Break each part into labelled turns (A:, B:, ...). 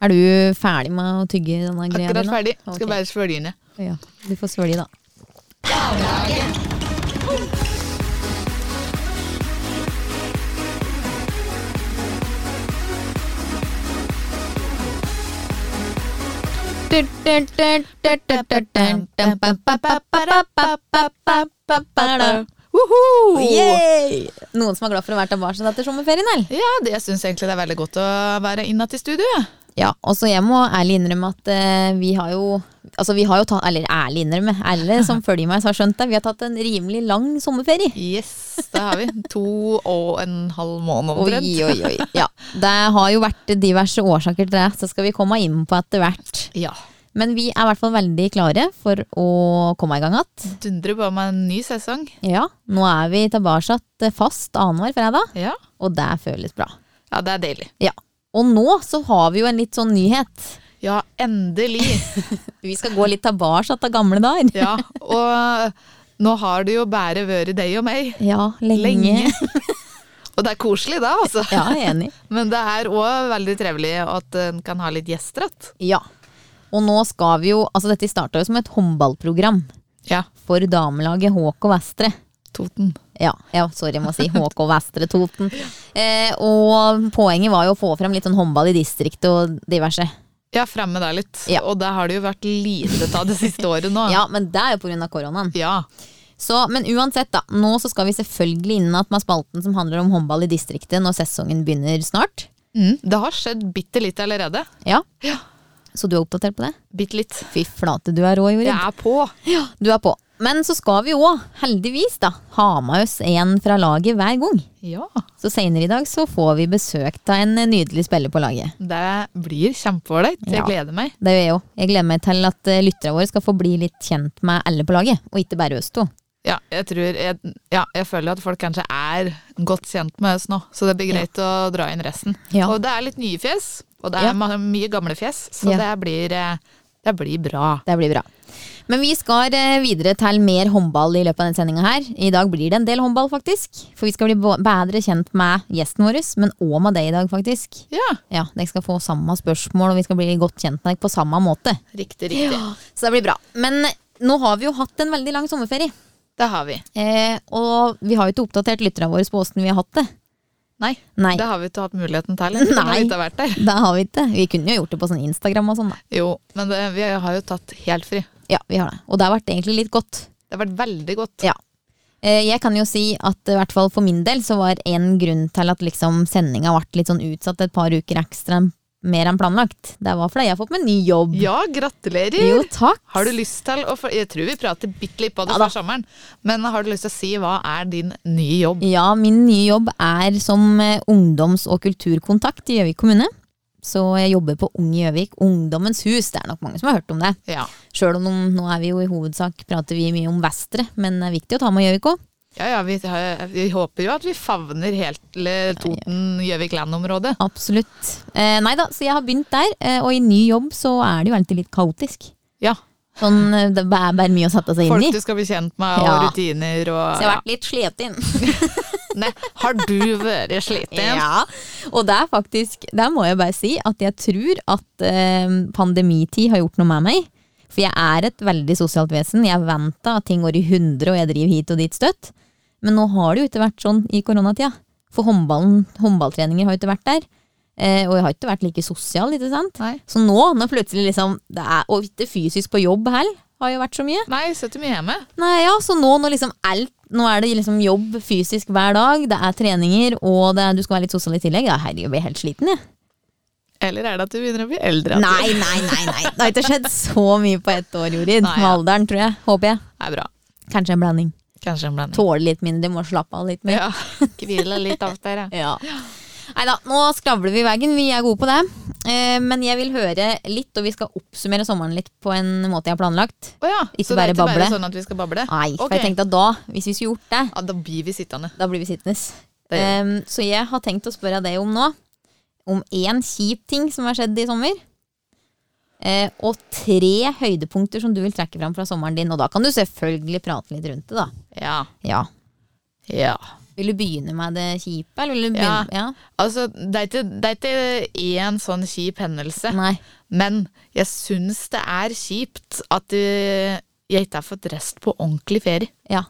A: Er du ferdig med å tygge denne greia
B: Akkurat
A: di nå?
B: ferdig.
A: Ok.
B: Skal bare svølge ned.
A: Ja, du får svølge, da.
B: Woho!
A: Yay! Noen som er glad for å være tilbake etter sommerferien, eller?
B: Ja, det jeg syns egentlig det er veldig godt å være innad i studio. Ja.
A: Ja, også jeg må ærlig innrømme at eh, vi har jo Altså vi har jo tatt, eller ærlig innrømme, alle som følger meg som har skjønt det, vi har tatt en rimelig lang sommerferie.
B: Yes, det har vi. To og en halv måned
A: Oi,
B: omtrent.
A: oi, oi. Ja, det har jo vært diverse årsaker til det, så skal vi komme inn på etter hvert.
B: Ja.
A: Men vi er i hvert fall veldig klare for å komme i gang igjen.
B: Dundrer på med en ny sesong.
A: Ja, nå er vi tilbake att fast annenhver fredag,
B: Ja.
A: og det føles bra.
B: ja, det er deilig.
A: Ja, og nå så har vi jo en litt sånn nyhet.
B: Ja, endelig.
A: Vi skal gå litt tilbake til gamle dager.
B: Ja, og nå har det jo bare vært deg og meg.
A: Ja, lenge.
B: Lenge. Og det er koselig da, altså.
A: Ja, jeg er enig.
B: Men det er òg veldig trivelig at en kan ha litt gjester igjen.
A: Ja. Og nå skal vi jo Altså, dette starta jo som et håndballprogram
B: Ja.
A: for damelaget HK Vestre.
B: Toten.
A: Ja, ja, sorry, jeg må si HK Vestre Toten. Eh, og poenget var jo å få frem litt sånn håndball i distriktet og diverse.
B: Ja, fremme deg litt.
A: Ja.
B: Og det har det jo vært lite av det siste året nå.
A: Ja, men det er jo pga. koronaen.
B: Ja.
A: Så, men uansett, da. Nå så skal vi selvfølgelig inn igjen med spalten som handler om håndball i distriktet når sesongen begynner snart.
B: Mm, det har skjedd bitte litt allerede.
A: Ja.
B: Ja.
A: Så du er oppdatert på det?
B: Bitte litt.
A: Fy flate, du er rå, Jorid.
B: Jeg er på.
A: Du er på. Men så skal vi òg, heldigvis, da, ha med oss en fra laget hver gang.
B: Ja.
A: Så senere i dag så får vi besøk av en nydelig spiller på laget.
B: Det blir kjempeålreit. Jeg
A: Ja.
B: gleder meg.
A: Det gjør jeg òg. Jeg gleder meg til at eh, lytterne våre skal få bli litt kjent med alle på laget, og ikke bare oss to.
B: Ja, jeg tror jeg, ja, jeg føler at folk kanskje er godt kjent med oss nå, så det blir greit å dra inn resten.
A: Ja.
B: Og det er litt nye fjes, og det er
A: Ja.
B: ma- mye gamle fjes, så
A: Ja.
B: det, blir, eh, det blir bra.
A: Det blir bra. Men vi skal eh, videre til mer håndball i løpet av denne sendinga her. I dag blir det en del håndball, faktisk. For vi skal bli bo- bedre kjent med gjesten vår, men òg med deg i dag, faktisk.
B: Ja,
A: Ja, Dere skal få samme spørsmål, og vi skal bli godt kjent med deg på samme måte.
B: riktig, riktig.
A: Så det blir bra. Men eh, nå har vi jo hatt en veldig lang sommerferie.
B: Det har vi.
A: Eh, og vi har jo ikke oppdatert lytterne våre på åssen vi har hatt det.
B: Nei,
A: Nei.
B: det har vi ikke hatt muligheten til. eller? Når
A: Nei.
B: vi ikke har vært der.
A: Det har vi ikke. Vi kunne jo gjort det på sånn Instagram og sånn, da.
B: Jo, men det, vi har jo tatt helt fri.
A: Ja, vi har det. Og det har vært egentlig litt godt.
B: Det har vært veldig godt.
A: Ja. Eh, Jeg kan jo si at eh, i hvert fall for min del så var en grunn til at liksom sendinga ble litt sånn utsatt et par uker ekstra enn- mer enn planlagt. Det var fordi jeg har fått meg ny jobb.
B: Ja, gratulerer!
A: Jo, takk.
B: Har du lyst til å for- Jeg tror vi prater bitte litt på det
A: Ja da.
B: før sommeren, men har du lyst til å si hva er din nye jobb?
A: Ja, min nye jobb er som eh, ungdoms- og kulturkontakt i Gjøvik kommune. Så jeg jobber på Ung i Gjøvik, Ungdommens hus. Det er nok mange som har hørt om det.
B: Ja.
A: Sjøl om noen- nå er vi jo i hovedsak prater vi mye om Vestre, men det er viktig å ta med Gjøvik òg.
B: Ja, ja, vi, har- vi håper jo at vi favner helt til eh, Toten-Gjøvik-land-området.
A: Absolutt. Eh, nei da, så jeg har begynt der, eh, og i ny jobb så er det jo alltid litt kaotisk.
B: Ja,
A: Sånn, eh, det er bare mye å sette seg inn
B: Folk
A: i.
B: du skal bli kjent med, og
A: Ja.
B: rutiner og
A: Så jeg har vært litt sliten.
B: ja. Nei, Har du vært sliten?
A: Ja. Og det er faktisk, der må jeg bare si at jeg tror at eh, pandemitid har gjort noe med meg. For jeg er et veldig sosialt vesen. Jeg venta at ting går i hundre, og jeg driver hit og dit støtt. Men nå har det jo ikke vært sånn i koronatida. For håndballen, håndballtreninger har jo ikke vært der. Eh, og jeg har ikke vært like sosial, ikke sant.
B: Nei.
A: Så nå, når plutselig liksom det er, Og ikke fysisk på jobb heller, har jo vært så mye.
B: Nei, sitter mye hjemme.
A: Nei, ja, så nå, når liksom alt, nå er det liksom jobb fysisk hver dag, det er treninger, og det er, du skal være litt sosial i tillegg. Ja, herregud, jeg blir helt sliten, jeg.
B: Eller er det at du begynner å bli eldre? at du-
A: Nei, nei, nei, nei. Det har ikke skjedd så mye på ett år, Jorid.
B: Nei, ja.
A: Med alderen, tror jeg. Håper jeg.
B: Det er bra.
A: Kanskje en blanding.
B: Kanskje en blanding.
A: Tåler litt mindre, må slappe av litt mer.
B: Ja. Hvile litt oftere.
A: Ja. Nei da, nå skravler vi i veggen. Vi er gode på det. Eh, men jeg vil høre litt, og vi skal oppsummere sommeren litt på en måte jeg har planlagt.
B: Å ja,
A: Ikke
B: så det
A: bare
B: er ikke bare
A: bable.
B: sånn at vi skal bable?
A: Nei, for
B: Ok.
A: jeg tenkte at da, hvis vi skulle gjort det,
B: Ja, da blir vi sittende.
A: Da blir vi sittende.
B: Det gjør
A: Ehm, så jeg har tenkt å spørre deg om nå. Om én kjip ting som har skjedd i sommer. eh, og tre høydepunkter som du vil trekke fram fra sommeren din. Og da kan du selvfølgelig prate litt rundt det, da.
B: Ja.
A: Ja.
B: Ja.
A: Vil du begynne med det kjipe, eller vil du
B: Ja.
A: begynne Ja.
B: Altså, det er ikke, det er ikke én sånn kjip hendelse,
A: Nei.
B: men jeg syns det er kjipt at eh, jeg ikke har fått rest på ordentlig ferie.
A: Ja.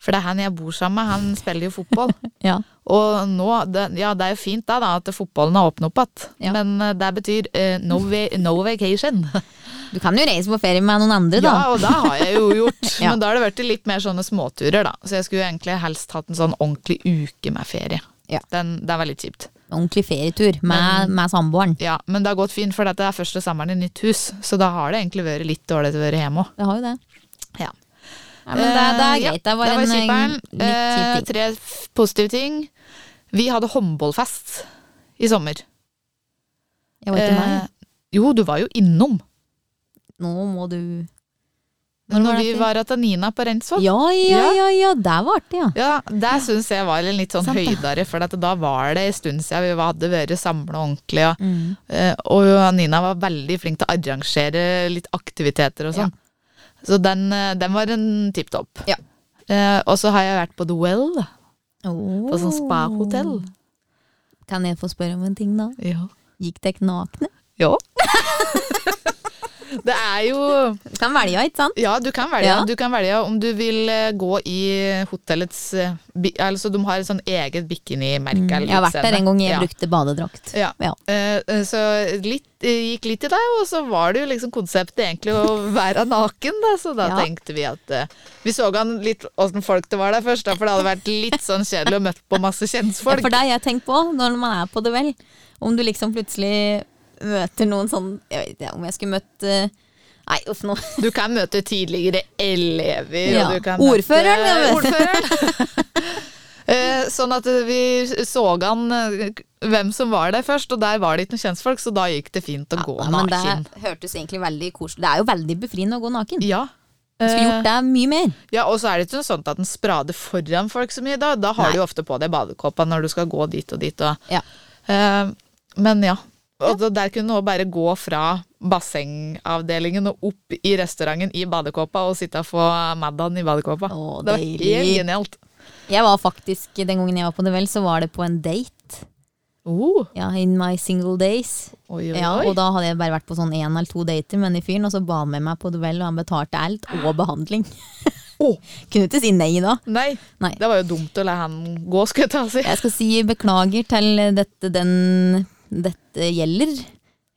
B: For det er han jeg bor sammen med, han spiller jo fotball.
A: Ja.
B: Og nå, det, ja det er jo fint da, da at fotballen har åpnet opp igjen,
A: Ja.
B: men eh, det betyr eh, no, va- no vacation.
A: Du kan jo reise på ferie med noen andre, da.
B: Ja, og det har jeg jo gjort,
A: Ja.
B: men da har det vært litt mer sånne småturer da. Så jeg skulle jo egentlig helst hatt en sånn ordentlig uke med ferie.
A: Ja.
B: Den, det er veldig kjipt.
A: Ordentlig ferietur med, med samboeren.
B: Ja, men det har gått fint, for dette er første sommeren i nytt hus, så da har det egentlig vært litt dårlig til å være hjemme òg.
A: Det har jo det.
B: Ja.
A: Nei, men det, det er
B: Eh, ja,
A: greit. Det var,
B: det var
A: en eh,
B: skipperen.
A: litt
B: Eh,
A: kjip ting.
B: Tre f- positive ting. Vi hadde håndballfest i sommer.
A: Jeg var ikke meg.
B: Eh, jo, du var jo innom.
A: Nå må du Når
B: Når,
A: var det
B: vi
A: at vi-
B: var hos Nina på Reinsvoll.
A: Ja, ja, ja, ja, det var artig, ja.
B: Ja, det syns jeg var en litt sånn
A: Sant det.
B: høydere, for at da var det en stund siden vi var- hadde vært samla ordentlig. Og,
A: Mm.
B: eh, og Nina var veldig flink til å arrangere litt aktiviteter og sånn. Så den, eh, den var en tipp topp.
A: Ja.
B: Eh, og så har jeg vært på Duell,
A: Oh.
B: på sånn spahotell.
A: Kan jeg få spørre om en ting, da?
B: Ja.
A: Gikk dere nakne?
B: ja. det er jo
A: Du kan velge, ikke sant?
B: Ja, du kan velge,
A: Ja.
B: du kan velge om du vil eh, gå i hotellets eh, bi- Altså, de har et sånn eget bikinimerke. eller
A: Mm. Jeg har vært der
B: utseende.
A: en gang jeg
B: ja.
A: brukte badedrakt.
B: Ja.
A: Ja.
B: Eh, eh, Så litt, eh, gikk litt i det, og så var det jo liksom konseptet egentlig å være naken, da. Så da
A: Ja.
B: tenkte vi at eh, Vi så an litt åssen folk det var der først, da, for det hadde vært litt sånn kjedelig å møte på masse
A: Ja,
B: kjentfolk.
A: for det har jeg tenkt på når man er på duell. Om du liksom plutselig møter noen sånn Jeg vet ikke om jeg skulle møtt eh, Nei, uff nå.
B: Du kan møte tidligere elever,
A: Ja.
B: og du kan
A: Ordføreren, ja,
B: møte
A: men-
B: ordføreren. Eh, sånn at vi så an eh, hvem som var der først, og der var det ikke noen kjentfolk, så da gikk det fint å gå
A: Ja, men det
B: naken.
A: hørtes egentlig veldig koselig Det er jo veldig befriende å gå naken.
B: Ja. Eh,
A: Jeg skulle gjort det mye mer.
B: ja, og så er det ikke sånn at en sprader foran folk så mye, da. Da har
A: Nei.
B: du jo ofte på deg badekåpa når du skal gå dit og dit. Og,
A: Ja.
B: Eh, men ja. Og da- der kunne du også bare gå fra bassengavdelingen og opp i restauranten i badekåpa og sitte og få middagen i badekåpa.
A: Å,
B: det var helt
A: deilig.
B: genialt.
A: Jeg var faktisk, Den gangen jeg var på duell, så var det på en date.
B: Oh,
A: Ja, In my single days.
B: oi, oi,
A: Ja,
B: oi.
A: og da hadde jeg bare vært på sånn én eller to dater med den fyren, og så ba han med meg på duell, og han betalte alt, og behandling.
B: Å.
A: Kunne ikke si nei da.
B: Nei,
A: Nei.
B: det var jo dumt å la han gå, skulle jeg ta og si.
A: Jeg skal si beklager til dette den dette gjelder,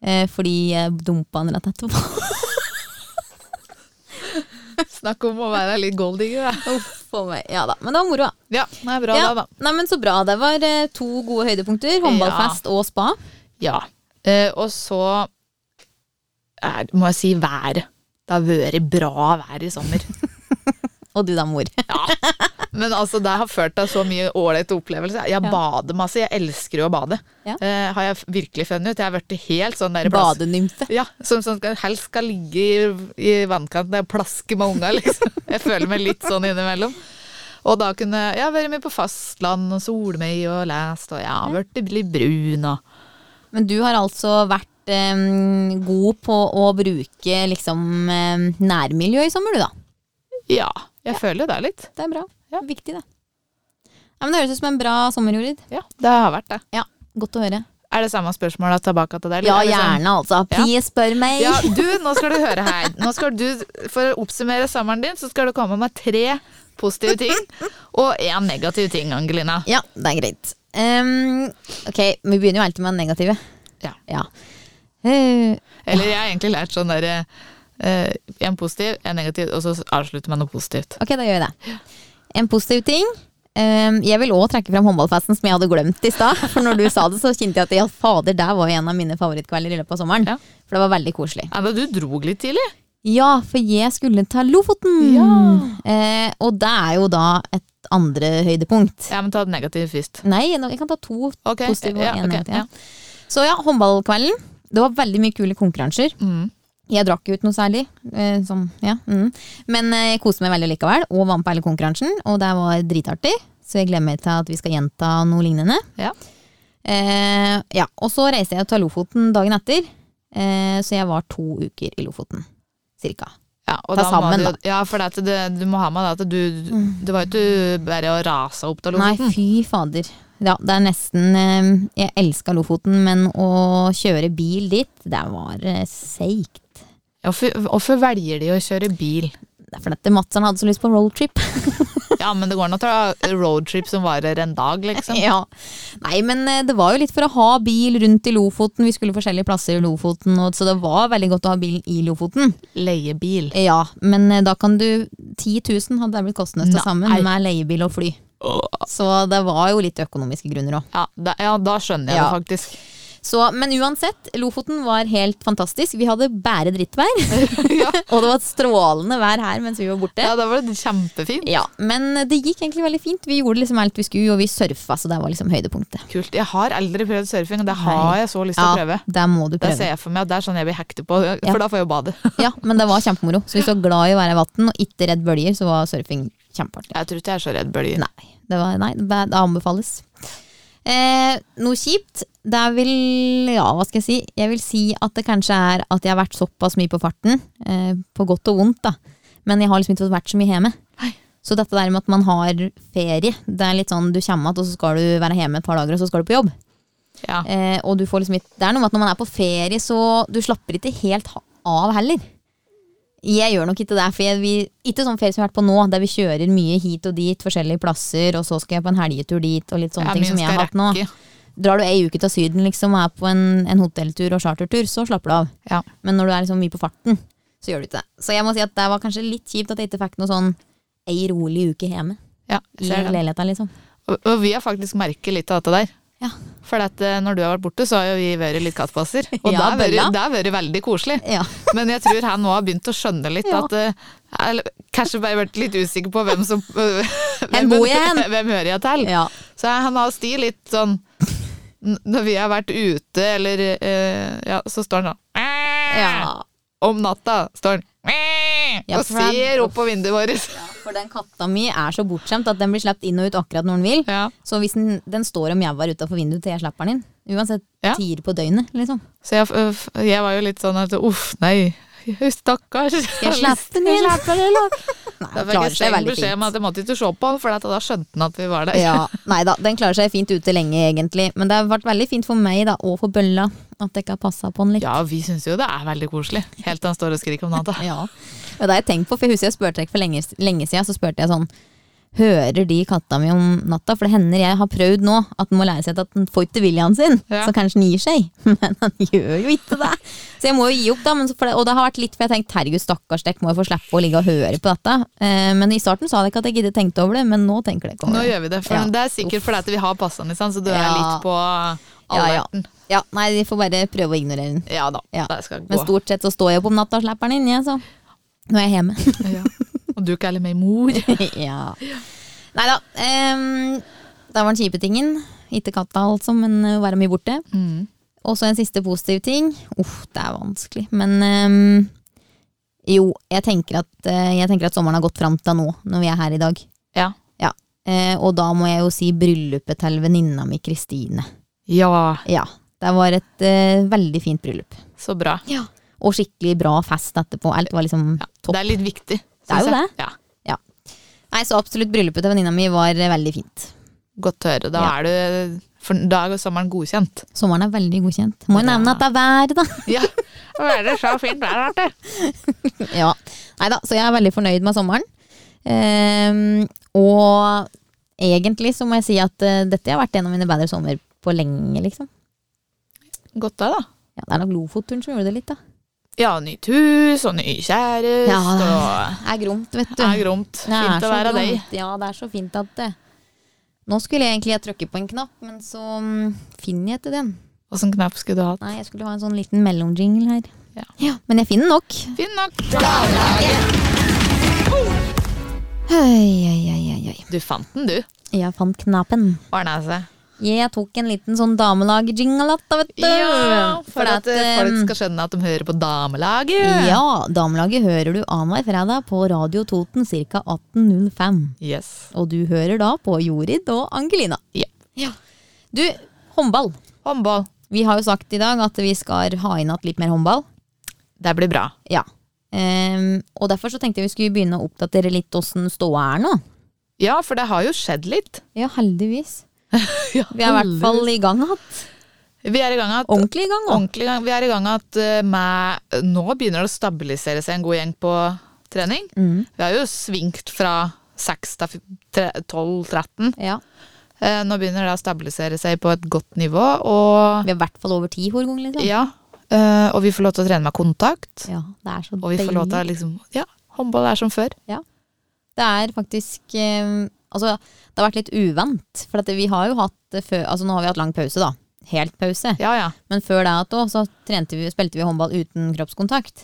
A: eh, fordi jeg dumpa han rett etterpå.
B: Snakk om å være litt golddigger, da.
A: Uff, for meg. Ja da, men det var moro. da.
B: Ja, nei, bra
A: ja.
B: da, da.
A: Nei, men så bra. Det var eh, to gode høydepunkter. Håndballfest og spa.
B: Ja. Eh, og så er, må jeg si været. Det har vært bra vær i sommer.
A: Og du da, mor.
B: Men altså, det har ført til så mye ålreite opplevelser. Jeg bader masse. Jeg elsker jo å bade.
A: Ja.
B: Eh, har jeg f- virkelig funnet ut. Jeg har blitt helt sånn der plass-
A: Badenymfe.
B: Ja, som, som skal- helst skal ligge i, i vannkanten og plaske med unga, liksom. Jeg føler meg litt sånn innimellom. Og da kunne jeg har vært mye på fastland og solmøy og lest, og jeg har blitt litt brun og
A: Men du har altså vært eh, god på å bruke liksom eh, nærmiljø i sommer, du da.
B: Ja, jeg føler jo det litt.
A: Det er bra.
B: Ja.
A: Viktig, det. Ja, men det høres ut som en bra sommer, Jorid.
B: Ja, det har vært det.
A: Ja, godt å høre.
B: Er det samme spørsmålet tilbake til deg? eller
A: Ja,
B: er det sånn-
A: gjerne, altså.
B: Ja.
A: Please, spør meg.
B: Ja, du, nå skal du høre her. Nå skal du, for å oppsummere sommeren din, så skal du komme med tre positive ting og én negativ ting, Angelina.
A: Ja, det er greit. Ehm, ok, vi begynner jo alltid med det negative.
B: Ja.
A: Ja. Eh,
B: Eller jeg har egentlig lært sånn derre eh, En positiv, en negativ, og så avslutte med noe positivt.
A: ok, da gjør jeg det. En positiv ting. ehm, jeg vil òg trekke fram håndballfesten som jeg hadde glemt i stad. For når du sa det, så kjente jeg at ja, fader, det var jo en av mine favorittkvelder i løpet av sommeren.
B: Ja.
A: For det var veldig koselig.
B: Enda du drog litt tidlig.
A: Ja, for jeg skulle til Lofoten.
B: Ja.
A: Eh, og det er jo da et andre høydepunkt.
B: Ja, men ta det negative først.
A: Nei, nå- jeg kan ta to
B: Ok,
A: positive og
B: ja,
A: en
B: ok,
A: negativ.
B: ja.
A: Så ja, håndballkvelden. Det var veldig mye kule konkurranser.
B: Mm.
A: Jeg drakk jo ut noe særlig, eh, som, ja, mm. men eh, jeg koste meg veldig likevel, og vant på hele konkurransen, og det var dritartig, så jeg gleder meg til at vi skal gjenta noe lignende.
B: Ja.
A: Eh, ja, og så reiste jeg til Lofoten dagen etter, eh, så jeg var to uker i Lofoten, cirka.
B: Ja, og
A: Ta
B: da må
A: sammen,
B: du,
A: da.
B: Ja, for det, at det, du må ha med det at du Det var jo ikke bare å rase opp til
A: Nei,
B: Lofoten.
A: fy fader. Ja, det er nesten eh, Jeg elska Lofoten, men å kjøre bil dit, det var eh, seigt.
B: Hvorfor, hvorfor velger de å kjøre bil?
A: Det er fordi at Madsson hadde så lyst på roadtrip.
B: Ja, men det går an å ta roadtrip som varer en dag, liksom.
A: Ja. Nei, men eh, det var jo litt for å ha bil rundt i Lofoten. Vi skulle forskjellige plasser i Lofoten, og, så det var veldig godt å ha bilen i Lofoten.
B: Leiebil.
A: Ja, men eh, da kan du 10 000 hadde det blitt kostende å stå sammen
B: Nei.
A: med leiebil og fly. Så det var jo litt økonomiske grunner òg.
B: Ja, da, ja, da skjønner jeg
A: Ja.
B: det faktisk.
A: Men uansett, Lofoten var helt fantastisk. Vi hadde bare drittvær,
B: ja.
A: og det var strålende vær her mens vi var borte.
B: ja, da var det kjempefint.
A: Ja, Men det gikk egentlig veldig fint. Vi gjorde liksom alt vi skulle, og vi surfa, så det var liksom høydepunktet.
B: Kult. Jeg har aldri prøvd surfing, og det har
A: Nei.
B: jeg så lyst til å
A: Ja,
B: prøve.
A: der må du
B: Det
A: prøve.
B: ser jeg for meg, og det er sånn jeg blir hektet på, for da får jeg jo bade.
A: Ja, men det var kjempemoro. Så hvis du var glad i å være i vann og ikke redd bølger, så var surfing kjempeartig.
B: Jeg tror ikke jeg er så redd bølger.
A: Nei, det, var, nei, det anbefales. Eh, noe kjipt, det vil Ja, hva skal jeg si? Jeg vil si at det kanskje er at jeg har vært såpass mye på farten. Eh, på godt og vondt, da. Men jeg har liksom ikke fått vært så mye hjemme.
B: Nei.
A: Så dette der med at man har ferie, det er litt sånn du kommer igjen, og så skal du være hjemme et par dager, og så skal du på jobb.
B: Ja.
A: Eh, og du får liksom ikke Det er noe med at når man er på ferie, så du slapper ikke helt ha- av heller. Jeg gjør nok ikke det. For jeg, vi, ikke sånn ferie som vi har vært på nå, der vi kjører mye hit og dit, forskjellige plasser, og så skal jeg på en helgetur dit, og litt sånne
B: Ja,
A: ting
B: min
A: som jeg har
B: skal
A: hatt nå.
B: rekke.
A: Drar du ei uke til Syden liksom, og er på en, en hotelltur og chartertur, så slapper du av.
B: Ja.
A: Men når du er liksom mye på farten, så gjør du ikke det. Så jeg må si at det var kanskje litt kjipt at jeg ikke fikk noe sånn ei rolig uke hjemme
B: Ja,
A: i
B: ser det.
A: leiligheta, liksom.
B: Og, og vi har faktisk merket litt av dette der.
A: Ja.
B: For at, eh, når du har vært borte, så har jo vi vært litt kattpasser. Og
A: Ja, Bella.
B: det har vært- det har vært veldig koselig.
A: Ja.
B: Men jeg tror han nå har begynt å skjønne litt
A: Ja.
B: at eh, eller, Kanskje bare vært litt usikker på hvem som Hvem,
A: bor jeg hen?
B: hvem hører jeg til?
A: ja.
B: Så han har sti litt sånn n- Når vi har vært ute, eller eh, Ja, så står han sånn
A: ja.
B: Om natta står han
A: Ja,
B: og
A: for han-
B: ser opp på vinduet vårt.
A: For den katta mi er så bortskjemt at den blir sluppet inn og ut akkurat når den vil.
B: Ja.
A: Så hvis den, den står og mjauer utafor vinduet til jeg slipper den inn, uansett
B: Ja.
A: tider på døgnet, liksom.
B: Så jeg, f- jeg var jo litt sånn at uff, nei, stakkars.
A: Jeg slipper den inn! Nei,
B: Da
A: den
B: fikk
A: klarer
B: jeg
A: seg
B: streng
A: veldig
B: beskjed om
A: fint.
B: at jeg måtte ikke se på han, for at da skjønte han at vi var der.
A: Ja, nei da, den klarer seg fint ute lenge, egentlig. Men det har vært veldig fint for meg, da, og for bølla, at jeg ikke har passa på den liksom. litt.
B: Ja, vi syns jo det er veldig koselig. Helt til han står og skriker om natta.
A: Ja. Og det har jeg tenkt på, for jeg husker jeg spurte deg for lenge, lenge siden, så spurte jeg sånn Hører de katta mi om natta? For det hender jeg har prøvd nå at den må lære seg at den får ikke viljen sin.
B: Ja.
A: Så kanskje den gir seg. Men han gjør jo ikke det. Så jeg må jo gi opp, da. Men så for det, og det har vært litt, for jeg har tenkt herregud, stakkars dekk, må jeg få slippe å ligge og høre på dette. Eh, men i starten sa jeg ikke at jeg ikke tenkte over det, men nå tenker jeg ikke
B: Nå
A: over det.
B: gjør vi det, for
A: Ja.
B: det er sikkert fordi at vi har passet han i stand, så du er
A: Ja.
B: litt på
A: Ja,
B: alerten.
A: ja. ja, nei, de får bare prøve å ignorere den.
B: Ja, da,
A: Ja.
B: det skal
A: Men
B: gå.
A: stort sett så står jeg opp om natta og slipper den inn, jeg, så nå er jeg hjemme.
B: Ja. Og du kaller meg mor.
A: ja. Nei da. da var den kjipe tingen. Ikke katta, altså, men å være mye borte.
B: Mm.
A: Og så en siste positiv ting. Uff, det er vanskelig. Men ehm, jo, jeg tenker, at, eh, jeg tenker at sommeren har gått fram til nå, når vi er her i dag.
B: Ja.
A: Ja. Eh, og da må jeg jo si bryllupet til venninna mi Kristine.
B: ja,
A: Ja. Det var et eh, veldig fint bryllup.
B: så bra.
A: Og skikkelig bra fest etterpå. Alt var liksom
B: Ja.
A: topp.
B: Det er litt viktig.
A: Det er
B: synes
A: jo
B: jeg. Ja.
A: Nei, så absolutt bryllupet til venninna mi var eh, veldig fint.
B: Godt å høre. Da
A: Ja.
B: er du for da er jo sommeren godkjent.
A: Sommeren er veldig godkjent. Må jo nevne at det er været, da.
B: Ja, Hva er det så fint vær, Arte?
A: Ja. Neida, så jeg er veldig fornøyd med sommeren. Ehm, og egentlig så må jeg si at eh, dette har vært en av mine bedre sommer på lenge, liksom.
B: Godt da, da.
A: Ja, det er nok Lofoturen som gjorde det litt, da.
B: Ja, nytt hus og ny kjæreste
A: Ja, det er-
B: og
A: Det er gromt, vet du.
B: Det er gromt.
A: Det er
B: Fint å
A: så
B: være deg.
A: gromt. Ja, det er så fint at det Nå skulle jeg egentlig trykke på en knapp, men så mm, finner jeg ikke den.
B: Åssen knapp skulle du hatt?
A: Nei, jeg skulle ha en sånn liten mellomjingle her.
B: Ja.
A: men jeg finner den nok.
B: Fin nok.
A: Oi, oi, oi, oi, oi.
B: Du fant den, du.
A: Jeg fant knappen.
B: Ordna seg.
A: Jeg tok en liten sånn damelag-jingle, da, vet du.
B: Ja, for
A: Fordi
B: at eh,
A: eh,
B: folk skal skjønne at de hører på damelaget.
A: Ja, damelaget hører du annenhver fredag på Radio Toten ca. 18.05.
B: Yes.
A: Og du hører da på Jorid og Angelina.
B: Ja.
A: Du, håndball.
B: Håndball.
A: Vi har jo sagt i dag at vi skal ha inn igjen litt mer håndball.
B: Det blir bra.
A: Ja. Ehm, og derfor så tenkte jeg vi skulle begynne å oppdatere litt åssen ståa er nå.
B: Ja, for det har jo skjedd litt.
A: Ja, heldigvis.
B: Ja,
A: Vi er i hvert fall i gang igjen.
B: Vi er i gang at
A: Ordentlig i gang. da.
B: ordentlig gang. Vi er i gang at eh, med Nå begynner det å stabilisere seg en god gjeng på trening.
A: Mm.
B: Vi har jo svingt fra 6 til 12-13.
A: Ja.
B: Eh, Nå begynner det å stabilisere seg på et godt nivå, og
A: Vi er i hvert fall over ti hver gang, liksom.
B: ja. eh, Og vi får lov til å trene med kontakt.
A: Ja, det er så
B: Og vi får lov til å liksom Ja, håndball er som før.
A: Det er faktisk eh, Altså, det har vært litt uvant. For at vi har jo hatt det før Altså, nå har vi hatt lang pause, da. Helt pause.
B: Ja, ja.
A: Men før det at også, så trente vi, spilte vi håndball uten kroppskontakt.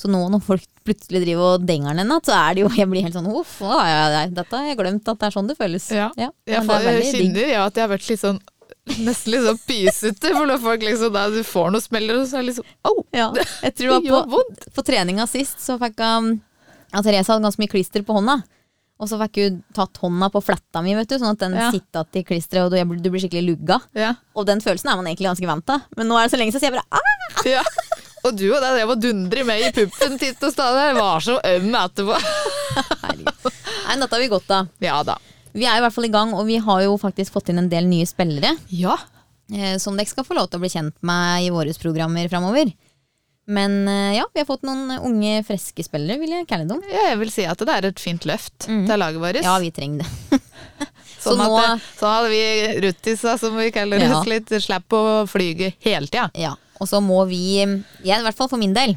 A: Så nå når folk plutselig driver og denger den en natt, så er det jo Jeg blir helt sånn uff, nå har jeg, dette har jeg glemt at det er sånn det føles.
B: Ja. Jeg,
A: men det
B: får,
A: er veldig
B: jeg
A: digg.
B: kjenner ja, at jeg har vært litt sånn Nesten litt sånn pysete, for når folk liksom da du får noen smeller, og så er det liksom Au!
A: Ja. Jeg tror
B: Det
A: det
B: gjør
A: var på,
B: vondt.
A: på treninga sist så fikk hun ja, Therese hadde ganske mye klister på hånda. Og så fikk hun tatt hånda på fletta mi, vet du, sånn at den
B: Ja.
A: sitter satt i klisteret, og du, jeg blir- du blir skikkelig lugga.
B: Ja.
A: Og den følelsen er man egentlig ganske vant til. Men nå er det så lenge siden, så jeg bare ah!
B: ja. Og du og det, jeg må dundre med i puppen titt og stadig. Jeg var så øm etterpå.
A: Herregud. Nei, dette har vi godt av.
B: Ja da.
A: Vi er i hvert fall i gang, og vi har jo faktisk fått inn en del nye spillere.
B: Ja.
A: eh, som dere skal få lov til å bli kjent med i våre programmer framover. Men eh, ja, vi har fått noen unge, friske spillere, vil jeg kalle dem.
B: Ja, jeg vil si at det er et fint løft
A: Mhm.
B: til laget vårt.
A: Ja, vi trenger det. så
B: sånn, at
A: nå-
B: det, sånn at vi ruttisa, som vi kaller
A: Ja.
B: oss litt, slipper å flyge hele tida.
A: Ja, Og så må vi jeg, I hvert fall for min del.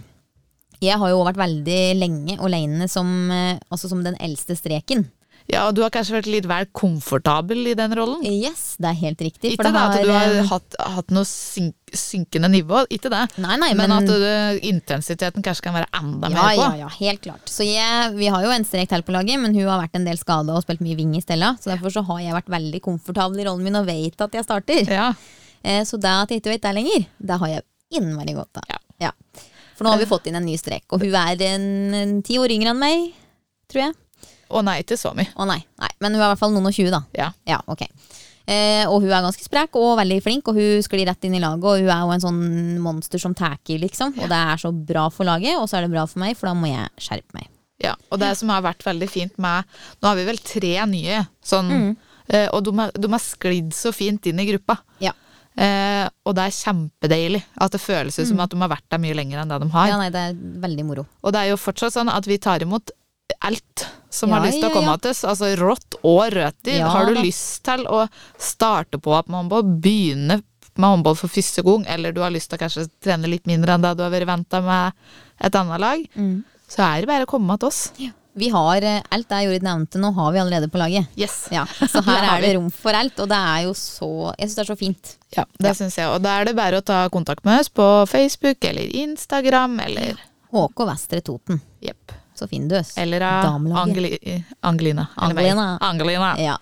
A: Jeg har jo vært veldig lenge aleine som, eh, altså som den eldste streken.
B: Ja, og du har kanskje vært litt vel komfortabel i den rollen?
A: Yes, det er helt riktig.
B: Ikke det at du
A: eh,
B: har hatt, hatt noe syn synkende nivå, ikke det.
A: Nei, nei,
B: Men,
A: men,
B: at du, intensiteten kanskje kan være enda
A: ja,
B: mer på.
A: ja, ja, helt klart. Så jeg, vi har jo en strek til på laget, men hun har vært en del skada og spilt mye wing i stella. Så derfor så har jeg vært veldig komfortabel i rollen min og veit at jeg starter.
B: Ja.
A: Eh, Så det at jeg ikke vet det lenger, det har jeg innmari godt av.
B: Ja.
A: For nå har vi fått inn en ny strek, og hun er en, en ti år yngre enn meg, tror jeg.
B: Og nei til så mye.
A: Å nei, nei, men hun er i hvert fall noen og tjue, da.
B: Ja.
A: Ja, ok. Eh, og hun er ganske sprek og veldig flink, og hun sklir rett inn i laget. Og hun er jo en sånn monster som tar i, liksom. Og det er så bra for laget, og så er det bra for meg, for da må jeg skjerpe meg.
B: Ja, og det som har vært veldig fint med Nå har vi vel tre nye, sånn,
A: Mm.
B: eh, og de har, de har sklidd så fint inn i gruppa.
A: Ja.
B: Eh, og det er kjempedeilig at det føles ut som
A: Mm.
B: at de har vært der mye lenger enn det de har.
A: ja, nei, det er veldig moro.
B: Og det er jo fortsatt sånn at vi tar imot alt som
A: Ja,
B: har lyst
A: ja,
B: til å komme
A: ja.
B: til oss. Altså rått og røti.
A: Ja,
B: har du
A: da.
B: lyst til å starte på med håndball, begynne med håndball for første gang, eller du har lyst til å kanskje trene litt mindre enn det du har vært venta med et annet lag,
A: Mm.
B: så er det bare å komme til oss.
A: Vi har eh, alt det Jorid nevnte nå, har vi allerede på laget.
B: Yes.
A: Ja, Så her
B: Det har
A: er det rom for alt, og det er jo så Jeg syns det er så fint.
B: Ja, det syns jeg. Og da er det bare å ta kontakt med oss på Facebook eller Instagram eller
A: HK Vestre Toten.
B: Jepp.
A: Så fin du oss.
B: Eller av
A: Damelaget.
B: Angeli, Angelina. eller meg.
A: Angelina.
B: Angelina.
A: Ja.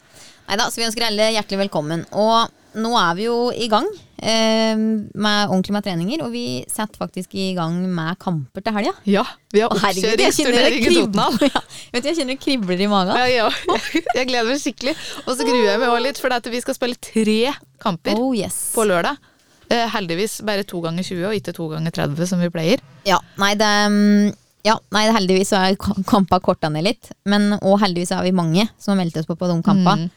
A: Neida, så vi ønsker alle hjertelig velkommen. Og nå er vi jo i gang eh, med ordentlig med treninger, og vi setter faktisk i gang med kamper til helga.
B: Ja, vi har
A: Å, herregud, jeg kjenner det
B: oppkjøringsturnering i Tottenham.
A: kribler, ja, vet du, jeg kjenner det kribler i magen.
B: Ja, ja. Jeg gleder meg skikkelig. Og så gruer jeg meg også litt, for at vi skal spille tre kamper
A: Oh yes.
B: på lørdag. Eh, Heldigvis bare to ganger 20 og ikke to ganger 30 som vi pleier.
A: Ja, nei, det, mm, ja, nei det- heldigvis så er k- kampa korta ned litt. Men og heldigvis er vi mange som har meldt oss på på de kampa.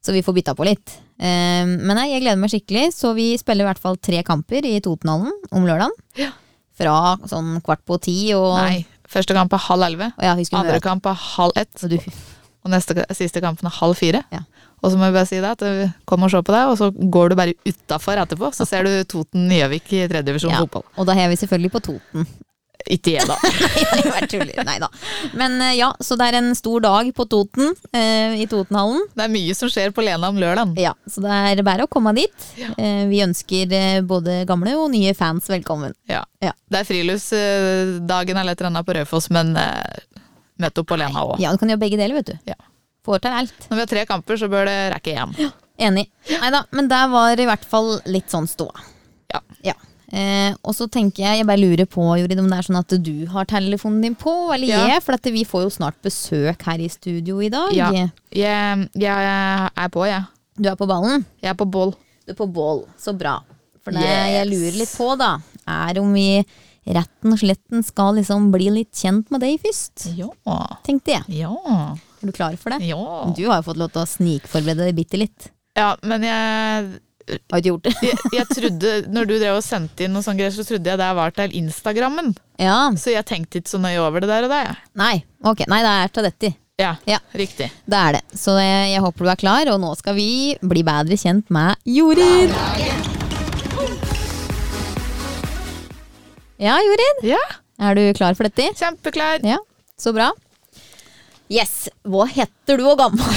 A: Så vi får bytta på litt. Eh, men nei, jeg gleder meg skikkelig, så vi spiller i hvert fall tre kamper i Totenhallen om lørdagen.
B: Ja.
A: Fra sånn kvart på ti og
B: Nei, første kamp er halv elleve.
A: Og ja, vi skulle
B: Andre
A: møte
B: kamp er halv ett.
A: så du,
B: Og neste, siste kampen er halv fire.
A: Ja.
B: Og så må jeg bare si det, at eh, kom og se på deg, og så går du bare utafor etterpå. Så ser du Toten-Gjøvik i tredje divisjon
A: ja.
B: fotball.
A: Og da heier vi selvfølgelig på Toten.
B: Ikke jeg, da.
A: Nei, jeg bare tuller. Nei da. Men eh, ja, så det er en stor dag på Toten, eh, i Totenhallen.
B: Det er mye som skjer på Lena om lørdagen.
A: Ja, så det er bare å komme dit. Eh, Vi ønsker eh, både gamle og nye fans velkommen.
B: Ja.
A: Ja.
B: Det er friluftsdagen eller et eller annet på Raufoss, men eh, møt opp på Lena òg.
A: Ja, du kan gjøre begge deler, vet du.
B: Ja.
A: Får til alt.
B: Når vi har tre kamper, så bør det rekke én.
A: Enig. Nei da, men der var i hvert fall litt sånn ståa.
B: Ja.
A: Ja. Eh, og så tenker jeg, jeg bare lurer på, Jorid, om det er sånn at du har telefonen din på, eller
B: Ja.
A: jeg, for at vi får jo snart besøk her i studio i dag.
B: Ja. Jeg, jeg er på, jeg.
A: Du er på ballen?
B: Jeg er på boll.
A: Du er på bål. Så bra. For det
B: Yes.
A: jeg lurer litt på, da, er om vi retten og sletten skal liksom bli litt kjent med deg først,
B: Ja.
A: tenkte jeg.
B: Ja.
A: Er du klar for det?
B: Ja.
A: Du har jo fått lov til å snikforberede deg bitte litt.
B: ja men jeg,
A: Har du ikke gjort det?
B: jeg, jeg trodde Når du drev og sendte inn noe sånt greier, så trodde jeg det var til Instagrammen.
A: Ja.
B: Så jeg tenkte ikke så nøye over det der og der. jeg.
A: Nei, ok. Nei, det er til dette.
B: Ja,
A: Ja.
B: riktig.
A: Det er det. Så jeg, jeg håper du er klar, og nå skal vi bli bedre kjent med Jorid. Ja, Jorid.
B: Ja,
A: Er du klar for dette?
B: kjempeklar.
A: Ja, så bra. Yes. Hva heter du og gammel?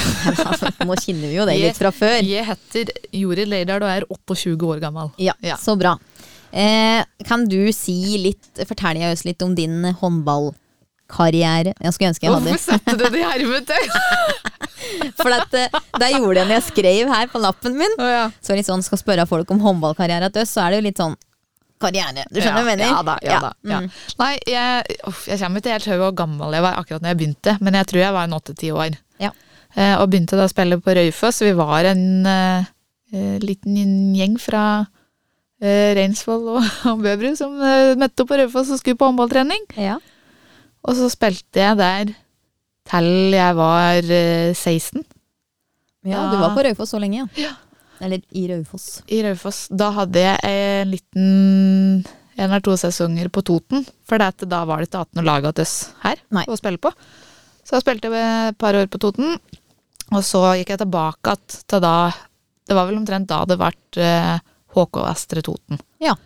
A: nå kjenner vi jo deg litt fra før.
B: Jeg heter Jorid Leirdal og er 28 år gammel.
A: Ja,
B: Ja.
A: så bra. Eh, kan du si litt, fortelle oss litt om din håndballkarriere? Jeg skulle ønske jeg hadde
B: Hvorfor satte du det i hermetøy?
A: For at, eh, det gjorde jeg når jeg skrev her på lappen min.
B: Å, ja.
A: Så litt sånn, skal spørre folk om håndballkarriere til oss, så er det jo litt sånn karriere. Du skjønner
B: ja,
A: hva jeg mener? Mm.
B: Ja da. ja, da, ja. Nei, jeg, uff, jeg kommer ikke helt til hvor gammel jeg var akkurat når jeg begynte, men jeg tror jeg var en åtte-ti år.
A: Ja.
B: Eh, og begynte da å spille på Raufoss. Vi var en eh, eh, liten gjeng fra eh, Reinsvoll og, og Bøbru som eh, møtte opp på Raufoss og skulle på håndballtrening.
A: Mm. Ja.
B: Og så spilte jeg der til jeg var eh, 16
A: ja, du var på Raufoss så lenge, ja. Eller i Raufoss.
B: i Raufoss. Da hadde jeg en liten en eller to sesonger på Toten, for det at da var det ikke 18 lag til oss her
A: Nei.
B: å spille på. Så jeg spilte jeg et par år på Toten, og så gikk jeg tilbake att til da Det var vel omtrent da det ble eh, HK Vestre Toten.
A: Ja.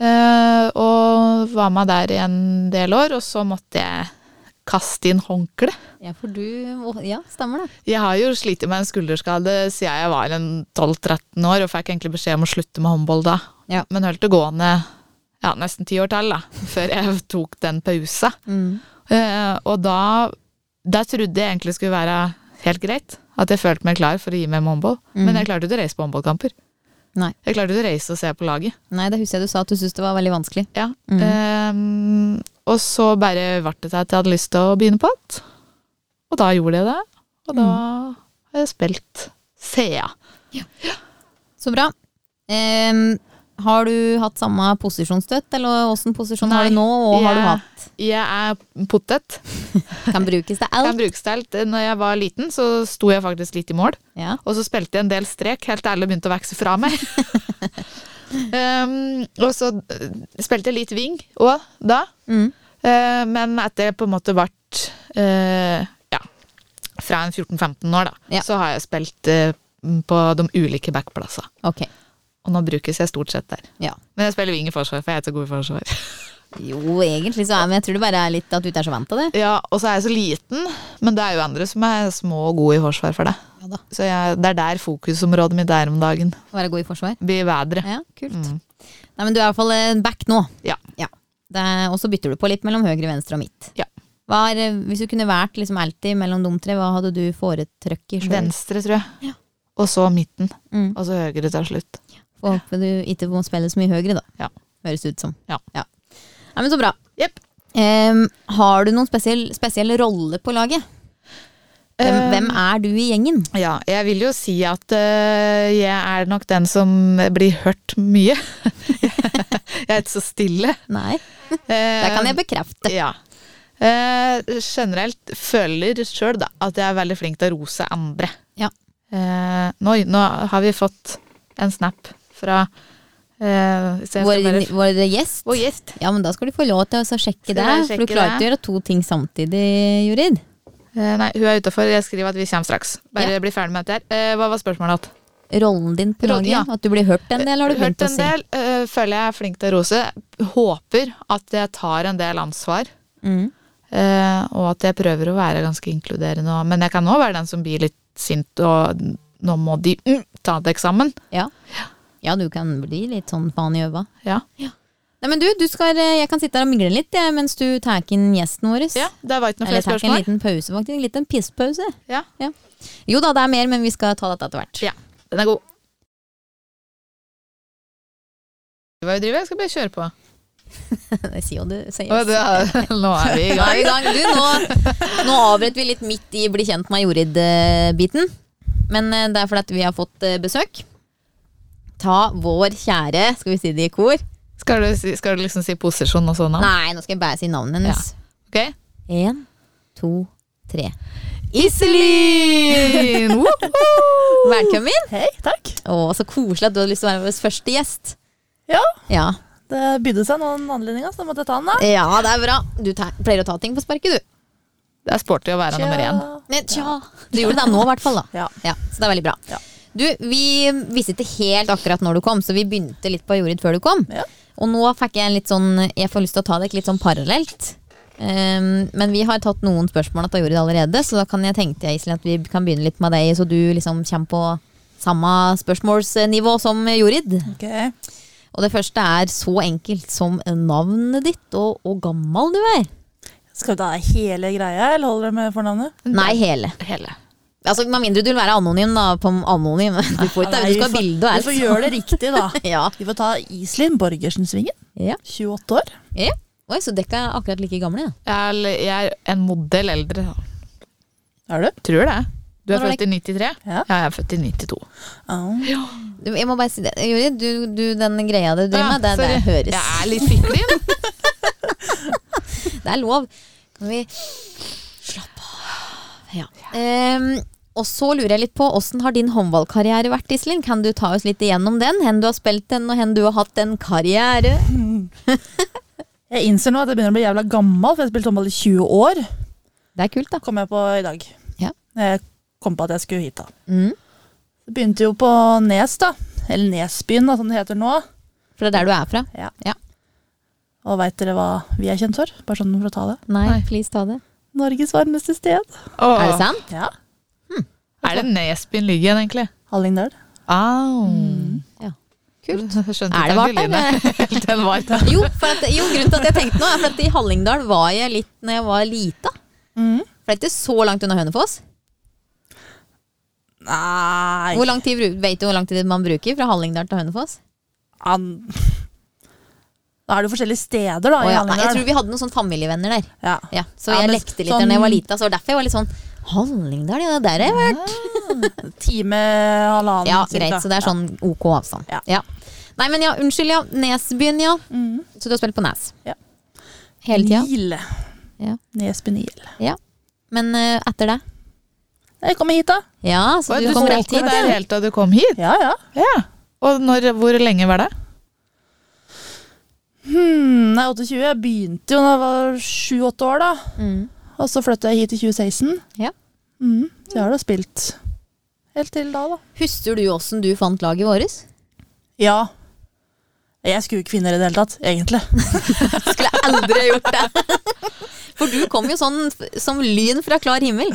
B: Eh, og var med der i en del år, og så måtte jeg kaste inn håndkle.
A: Ja, for du Ja, stemmer det.
B: Jeg har jo slitt med en skulderskade siden jeg var en 12-13 år, og fikk egentlig beskjed om å slutte med håndball da.
A: Ja.
B: Men holdt det gående ja, nesten ti år til, da, før jeg tok den pausa.
A: Mm.
B: Eh, og da, da trodde jeg egentlig skulle være helt greit, at jeg følte meg klar for å gi meg med håndball.
A: Mhm.
B: Men jeg klarte ikke å reise på håndballkamper.
A: Nei.
B: Jeg klarte ikke å reise og se på laget.
A: Nei, det husker jeg du sa at du syntes det var veldig vanskelig.
B: Ja.
A: Mhm.
B: Ehm, og så bare ble det til at jeg hadde lyst til å begynne på igjen. Og da gjorde jeg det. Og da
A: Mm.
B: har jeg spilt CA.
A: Så bra. Em, har du hatt samme posisjonsstøtt, eller åssen posisjon har du
B: Nei.
A: nå, og har du
B: Jeg-
A: hatt?
B: Jeg er potet.
A: Kan brukes til
B: Kan
A: alt.
B: brukes til alt. Når jeg var liten, så sto jeg faktisk litt i mål.
A: Ja.
B: Og så spilte jeg en del strek, helt til alle begynte å vokse fra meg. Ehm, og så eh, spilte jeg litt wing òg da.
A: Mm.
B: Eh, men etter jeg på en måte ble eh, ja, fra en 14-15 år, da,
A: Ja.
B: så har jeg spilt eh, på de ulike backplassene.
A: Ok.
B: Og nå brukes jeg stort sett der.
A: Ja.
B: Men jeg spiller wing i forsvar, for jeg er ikke så god i forsvar.
A: Jo, egentlig så er men jeg tror det bare er litt at du ikke er så vant til det.
B: Ja, Og så er jeg så liten, men det er jo andre som er små og gode i forsvar for det.
A: Ja da.
B: Så jeg, det er der fokusområdet mitt er om dagen.
A: Være god i forsvar.
B: Bli bedre.
A: Ja, kult.
B: Mm.
A: Nei, men du er i hvert fall eh, back nå.
B: Ja.
A: Det er- Og så bytter du på litt mellom høyre, venstre og midt.
B: Ja.
A: Hva er, eh, hvis du kunne vært liksom alltid mellom de tre, hva hadde du foretrøkket sjøl?
B: Venstre, tror jeg.
A: Ja.
B: Og så midten.
A: Mm.
B: Og så høyre til slutt.
A: Og Håper du ikke må spille så mye høyre, da.
B: Ja.
A: Høres ut som.
B: Ja.
A: Nei, men så bra.
B: Jepp.
A: Em, har du noen spesiell, spesiell rolle på laget? Hvem,
B: Eh,
A: hvem er du i gjengen?
B: Ja, jeg vil jo si at øh, jeg er nok den som blir hørt mye. jeg er ikke så stille. Eh,
A: Nei, det kan jeg bekrefte.
B: Ja. Eh, generelt føler sjøl da at jeg er veldig flink til å rose andre.
A: Ja.
B: Eh, nå, nå har vi fått en snap fra eh, så jeg skal
A: Vår,
B: bare-
A: vår gjest.
B: Vår gjest.
A: Ja, men da skal du få lov til å sjekke
B: Skal
A: det. For
B: jeg
A: du
B: sjekke
A: klarer
B: det?
A: ikke å gjøre to ting samtidig, Jorid.
B: Eh, nei, hun er utafor. Jeg skriver at vi kommer straks. Bare bli ferdig med dette her. Eh, hva var spørsmålet? igjen?
A: rollen din på laget?
B: Rollen, ja.
A: At du blir hørt en del, har du
B: hørt
A: begynt å
B: en
A: si?
B: del. øh, føler jeg er flink til å rose. Håper at jeg tar en del ansvar.
A: Mm.
B: øh, og at jeg prøver å være ganske inkluderende. og- Men jeg kan òg være den som blir litt sint og nå må de mm, ta et eksamen.
A: Ja. ja, du kan bli litt sånn faen i øva.
B: Ja.
A: Nei, men du, du skal, eh, jeg kan sitte her og migle litt jeg, mens du tar inn gjesten vår.
B: ja, det var ikke noe
A: Eller
B: flere
A: tar en
B: spørsmål.
A: liten pause, faktisk. En liten pisspause.
B: Ja.
A: Jo da, det er mer, men vi skal ta dette etter hvert.
B: Ja. Den er god. Hva vi driver Jeg skal bare kjøre på.
A: Jeg sier jo du sier
B: Å, det er- nå er vi i
A: Nå er vi i
B: gang.
A: gang. Du, nå, nå avbrøt vi litt midt i bli kjent med Jorid-biten. Men eh, det er fordi at vi har fått eh, besøk. Ta vår kjære, skal vi si det i kor,
B: Skal du, si- skal du liksom si posisjon og sånn? da?
A: Nei, nå skal jeg bare si navnet hennes.
B: Ok.
A: Én, to, tre.
B: Iselin! Woho!
A: Velkommen!
C: Hei, takk.
A: Å, så koselig at du hadde lyst til å være vår første gjest.
C: Ja,
A: Ja.
C: det bydde seg noen anledninger, så da måtte jeg ta den, da.
A: ja, det er bra. Du ta- pleier å ta ting på sparket, du.
B: Det er sporty å være nummer én.
A: Men tja, du gjorde det nå i hvert fall. da
C: Ja.
A: ja, Så det er veldig bra.
C: Ja.
A: Du, Vi visste ikke helt akkurat når du kom, så vi begynte litt på jordet før du kom.
C: Ja.
A: Og nå fikk jeg en litt sånn Jeg får lyst til å ta det litt sånn parallelt. Um, men vi har tatt noen spørsmål av jordet allerede, så da kan jeg tenkte jeg Iselin, at vi kan begynne litt med deg, så du liksom kommer på samme spørsmålsnivå som Jorid.
C: Ok.
A: Og det første er så enkelt som navnet ditt og hvor gammel du er.
C: Skal du ta hele greia, eller holder dere med fornavnet?
A: Nei, hele.
B: Hele.
A: Altså, Med mindre du vil være anonym, da. På anonym. Du, får ikke,
C: Nei,
A: du skal ha
C: vi får-
A: bilde og alt.
C: Vi får gjøre det riktig, da.
A: Ja.
C: Vi får ta Iselin Borgersen-svingen.
A: ja.
C: 28 år.
A: ja. Oi, så dere er akkurat like gamle, ja.
B: Jeg er, l- jeg er en modell eldre. da.
C: Er du?
B: Tror det. Du er
A: Når var
B: født i 93?
C: Ja.
B: jeg er født i 92.
C: Au.
A: Du, jeg må bare si det. Juri, du, du, den greia du driver
B: Ja,
A: med, det, det
B: sorry.
A: høres
B: Jeg er litt fiklin.
A: Det er lov. Kan vi slappe av? Ja. Ehm, og så lurer jeg litt på, Hvordan har din håndballkarriere vært, Iselin? Kan du ta oss litt igjennom den? Hen du har spilt den, og hen du har hatt en karriere?
C: Jeg innser nå at jeg begynner å bli jævla gammel, for jeg har spilt håndball i 20 år.
A: Det er kult, da.
C: Kom jeg på i dag.
A: Ja.
C: Når Jeg kom på at jeg skulle hit, da.
A: Mm.
C: Det begynte jo på Nes, da. Eller Nesbyen, da, som det heter nå.
A: For det er der du er fra?
C: Ja.
A: Ja.
C: Og veit dere hva vi er kjent for? Bare sånn for å ta det.
A: Nei,
B: Nei.
A: please ta det.
C: Norges varmeste sted.
B: Åh.
A: Er det sant?
C: Ja.
B: Er det Nesbyen ligger igjen, egentlig?
C: Hallingdal.
B: Au.
A: Mm. Ja.
B: Kult. Skjønte
A: Er det
B: ikke
A: vart der,
B: Angeline. Den var der.
A: Jo, for at, jo, grunnen til at jeg tenkte nå, er for at i Hallingdal var jeg litt når jeg var lita.
C: Mm.
A: For det er ikke så langt unna Hønefoss.
C: Nei
A: Hvor lang tid, bru- vet du hvor lang tid man bruker fra Hallingdal til Hønefoss?
C: An... Da er det jo forskjellige steder, da.
A: Å
C: i
A: ja, nei, jeg
C: Hallingdal.
A: tror vi hadde noen sånn familievenner der.
C: Ja.
A: Ja, så
C: Ja,
A: jeg
C: men
A: lekte litt
C: sånn-
A: da jeg var lita, så det var derfor jeg var litt sånn Hallingdal, ja, der har jeg vært.
C: Time, halvannen.
A: Ja,
C: cirka.
A: greit, så det er sånn ok avstand.
C: Ja.
A: Ja. Nei, men ja, unnskyld, ja. Nesbyen, ja.
C: Mhm.
A: Så du har spilt på Nes?
C: Ja.
A: Hele tida?
C: Nil.
A: Ja.
C: Nesbyen Nil.
A: Ja. Men eh, etter det?
C: Jeg kommer hit, da.
A: Ja, så
B: Oi,
A: du,
B: Du
A: kom rett
B: spilte
A: hit,
B: der
A: ja.
B: helt til du kom hit?
C: Ja, ja.
B: Ja. Og når, hvor lenge var det?
C: Hmm, nei, 28. Jeg begynte jo da jeg var 7-8 år, da.
A: Mm.
C: Og så flytta jeg hit i 2016.
A: Ja.
C: Mhm, så jeg har da spilt helt til da, da.
A: Husker du åssen du fant laget vårt?
C: Ja. Jeg skulle jo ikke finne det i det hele tatt, egentlig.
A: Skulle jeg aldri ha gjort det. For du kom jo sånn f- som lyn fra klar himmel.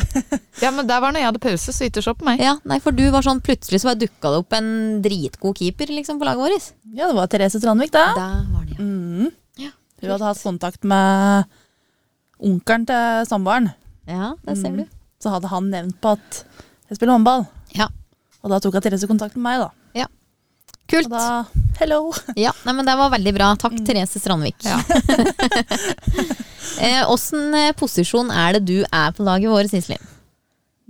B: Ja, men Der var når jeg hadde pause, så ikke så på meg.
A: Ja, nei, for du var sånn Plutselig så dukka det opp en dritgod keeper liksom, på laget vårt.
C: Ja, det var Therese Strandvik, da.
A: Der var det, ja.
C: Mhm.
A: Ja,
C: Hun hadde hatt kontakt med onkelen til samboeren.
A: ja der ser du.
C: Så hadde han nevnt på at jeg spiller håndball.
A: Ja,
C: Og da tok jeg Therese kontakt med meg, da.
A: Kult.
C: Og da hello!
A: Ja, nei, men Det var veldig bra. Takk, Therese Strandvik.
B: Ja.
A: Eh, Åssen eh, posisjon er det du er på laget vårt, Iselin?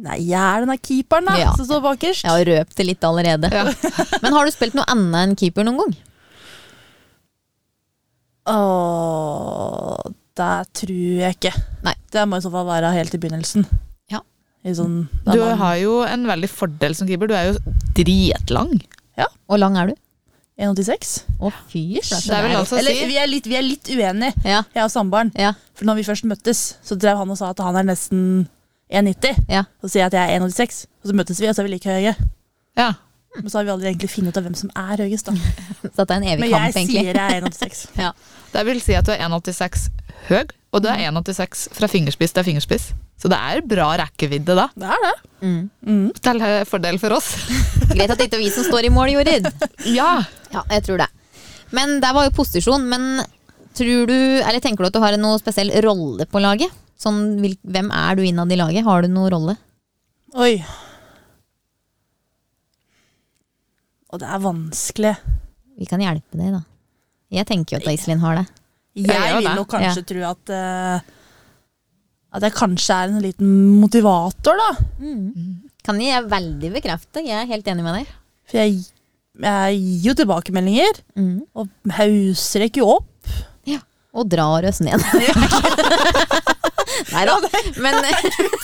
C: Nei, jeg er den der keeperen, da,
A: Ja.
C: som står bakerst.
A: Jeg har røpt det litt allerede. Men har du spilt noe annet enn keeper noen gang?
C: Åh, det tror jeg ikke.
A: Nei.
C: Det må i så fall være helt i begynnelsen.
A: Ja.
C: I sånn, da
B: Du
C: man-
B: har jo en veldig fordel som keeper. Du er jo dritlang.
A: Hvor lang er du?
C: 1,86.
A: Å, fy
B: Det er vel altså å
C: Eller
B: si
C: vi er litt, vi er litt uenige,
A: Ja,
C: jeg og samboeren.
A: ja,
C: For når vi først møttes, så drev han og sa at han er nesten 1,90.
A: ja.
C: Så sier jeg at jeg er 1,86. Og så møttes vi, og så er vi like høye.
B: ja.
C: Men så har vi aldri egentlig funnet ut av hvem som er høyest, da.
A: Så dette er en evig
C: Men jeg
A: kamp, egentlig.
C: sier jeg er 1,86.
A: Ja.
B: Det vil si at du er 1,86 høy, og du er 1,86 fra fingerspiss til fingerspiss. Så det er bra rekkevidde, da.
C: Det er det.
A: Mm.
C: Mm.
B: Til eh, fordel for oss.
A: Greit at det ikke er vi som står i mål, Jorid.
B: Ja.
A: Ja, jeg tror det. Men der var jo posisjon. Men tror du, eller tenker du at du har noen spesiell rolle på laget? Sånn, hvil- hvem er du innad i laget? Har du noen rolle?
C: Oi. Og det er vanskelig.
A: Vi kan hjelpe deg, da. Jeg tenker jo at Iselin har det.
C: Jeg
B: Jeg gjør
C: vil
B: det.
C: jo kanskje tro at eh, At jeg kanskje er en liten motivator, da.
A: Kan jeg veldig bekrefte. Jeg er helt enig med deg.
C: For jeg Jeg gir jo tilbakemeldinger,
A: Mm.
C: og hauser ikke opp.
A: Og drar oss ned. Nei da. Men,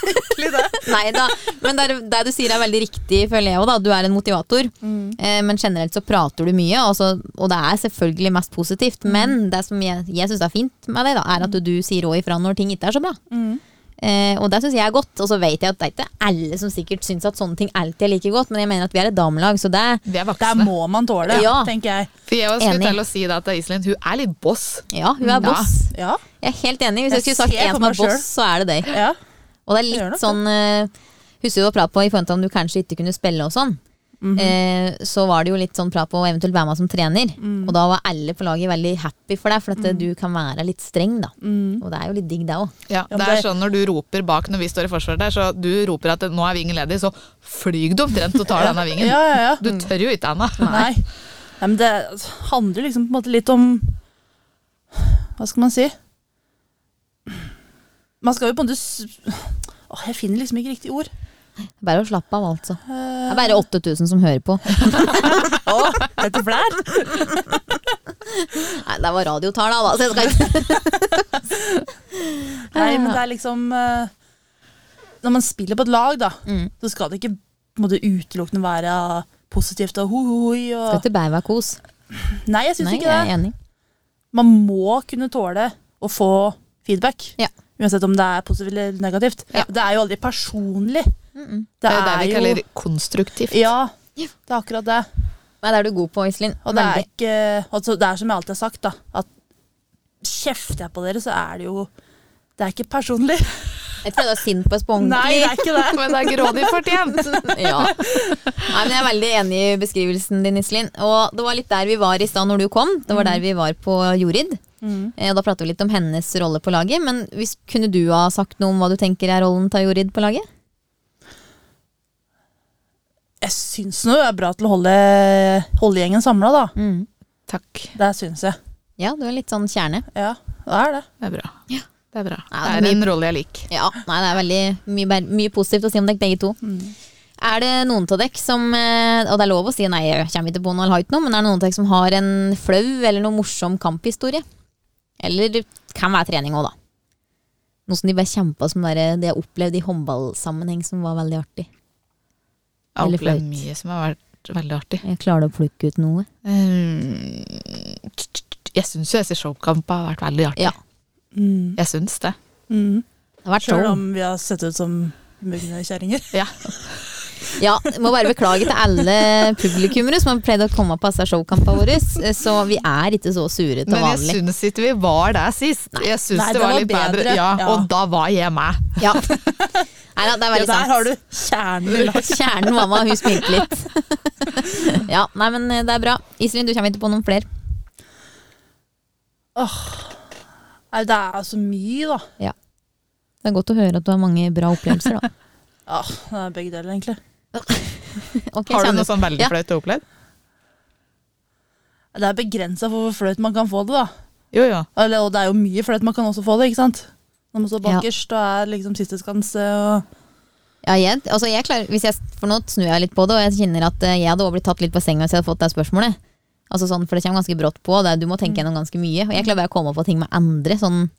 A: Neida. Men det, er- det du sier er veldig riktig, føler jeg òg. Du er en motivator.
C: Mm.
A: Eh, Men generelt så prater du mye, og, så, og det er selvfølgelig mest positivt.
C: Mm.
A: Men det som jeg, jeg syns er fint med det, da, er at du, du sier òg ifra når ting ikke er så bra.
C: Mm.
A: Eh, og det syns jeg er godt. Og så vet jeg at det er ikke alle som sikkert syns at sånne ting alltid er like godt, men jeg mener at vi er et damelag, så det
B: Vi er
C: Der
B: voksne.
C: må man tåle,
A: Ja.
C: tenker jeg.
B: For jeg også skulle
A: Enig.
B: til å si da, at Iselin hun er litt boss.
A: Ja, hun er
B: Ja.
A: boss.
C: Ja,
A: Jeg er helt enig. Hvis jeg,
C: Jeg
A: skulle sagt
C: ser
A: en
C: på
A: som er
C: meg selv.
A: boss, så er det deg.
C: ja.
A: Og det er
C: Gjør nok
A: litt
C: det.
A: sånn eh, Husker du å prate på i forhold til om du kanskje ikke kunne spille og sånn?
C: Mhm.
A: eh, så var det jo litt sånn prat på å eventuelt være med som trener.
C: Mhm.
A: Og da var alle på laget veldig happy for deg, for at eh, du kan være litt streng, da.
C: Mhm.
A: Og det er jo litt digg, det òg.
B: Ja, det
C: Ja, men
B: er
C: det-
B: sånn når du roper bak når vi står i forsvaret der, så du roper at nå er vingen ledig, så flyg du omtrent og tar denne vingen.
C: Ja, ja, ja.
B: Du tør jo ikke, Anna.
C: Nei. Nei, men det handler liksom på en måte litt om Hva skal man si? Man skal jo på en måte s- Åh, Jeg finner liksom ikke riktig ord.
A: Bare å slappe av, altså. Det er bare 8000 som hører på.
C: Eh. Å, dette flær!
A: Nei, det var radiotall, da, så jeg skal ikke
C: Nei, men det er liksom eh, Når man spiller på et lag, da,
A: Mm.
C: så skal det ikke på en måte utelukkende være positivt og ho-ho-hoi.
A: Skal
C: Og...
A: ikke bære meg kos.
C: Nei, jeg syns
A: Nei,
C: ikke
A: jeg
C: det.
A: er enig.
C: Man må kunne tåle å få feedback.
A: Ja.
C: Uansett om det er positivt eller negativt.
A: Ja.
C: Det er jo aldri personlig.
B: Det er jo det vi kaller konstruktivt.
C: Ja,
A: Ja.
C: det er akkurat det.
A: Nei, det er du god på, Iselin.
C: Og det er,
A: Veldig.
C: ikke, altså det er som jeg alltid har sagt, da, at kjefter jeg på dere, så er det jo Det er ikke personlig.
A: Jeg tror du er sint på oss på ordentlig.
C: Nei, det er ikke det.
B: Men det er grådig fortjent.
A: ja. Nei, men jeg er veldig enig i beskrivelsen din, Iselin. Og det var litt der vi var i stad når du kom. Det var der vi var på Jorid. Eh, Og da pratet vi litt om hennes rolle på laget. Men hvis, kunne du ha sagt noe om hva du tenker er rollen til Jorid på laget?
C: Jeg syns nå det er bra til å holde, holde gjengen samla, da.
A: Mm.
B: Takk.
C: Det syns jeg.
A: Ja, du er litt sånn kjerne.
C: Ja, det er det.
B: Det er bra. Det er bra.
A: Ja,
B: Det
A: det
B: er
A: er
B: en rolle jeg liker.
A: Ja, nei, det er veldig mye, bær- mye positivt å si om dere begge to. Er det noen av dere som eh, Og det er lov å si nei, jeg kommer ikke på noe eller har ikke noe, men er det noen av dere som har en flau eller noe morsom kamphistorie? Eller det kan være trening òg, da. Noe som de bare kjempa som der, det jeg opplevde i håndballsammenheng som var veldig artig.
B: Jeg har
A: Eller
B: opplevd
A: flaut.
B: mye som har vært veldig artig.
A: Jeg klarer å plukke ut noe.
B: Um, Jeg syns jo disse showkampene har vært veldig artig.
A: Ja.
C: Mm.
B: Jeg syns det.
C: Mm.
A: Det har vært
C: Sjøl
A: show.
C: om vi har sett ut som mugne kjerringer.
B: Ja.
A: Ja, jeg må bare beklage til alle publikummere som har pleid å komme på disse showkampene våre. Så vi er ikke så sure til
B: Men jeg
A: vanlig.
B: syns ikke vi var der sist. Jeg syns
C: Nei,
B: det
C: det
B: var
C: var
B: litt bedre.
C: bedre.
B: Ja,
C: Ja.
B: Og da var jeg med.
A: Ja. Neida, det er
C: Ja,
A: veldig sant.
C: der har du kjernen i laget.
A: Kjernen mamma, hun smilte litt. ja, nei, men eh, det er bra. Iselin, du kommer ikke på noen flere.
C: Nei, Det er så mye, da.
A: Det er godt å høre at du har mange bra opplevelser, da.
C: Ja, det er begge deler, egentlig.
A: Ok,
B: Har du
A: Kjernen.
B: noe sånn veldig
A: Ja.
B: flaut du har opplevd?
C: Det er begrensa for hvor flaut man kan få det, da.
B: Jo, jo.
C: Eller, og det er jo mye flaut man kan også få det, ikke sant? Når man står bakerst og er liksom siste skanse og
A: Ja, jeg, altså jeg klarer, hvis jeg, for nå snur jeg litt på det, og jeg kjenner at eh, jeg hadde også blitt tatt litt på senga hvis jeg hadde fått det spørsmålet. Altså sånn, for det kommer ganske brått på, og det, er- du må
B: Mm.
A: tenke gjennom ganske mye. Og jeg klarer bare å komme på ting med andre. Sånn,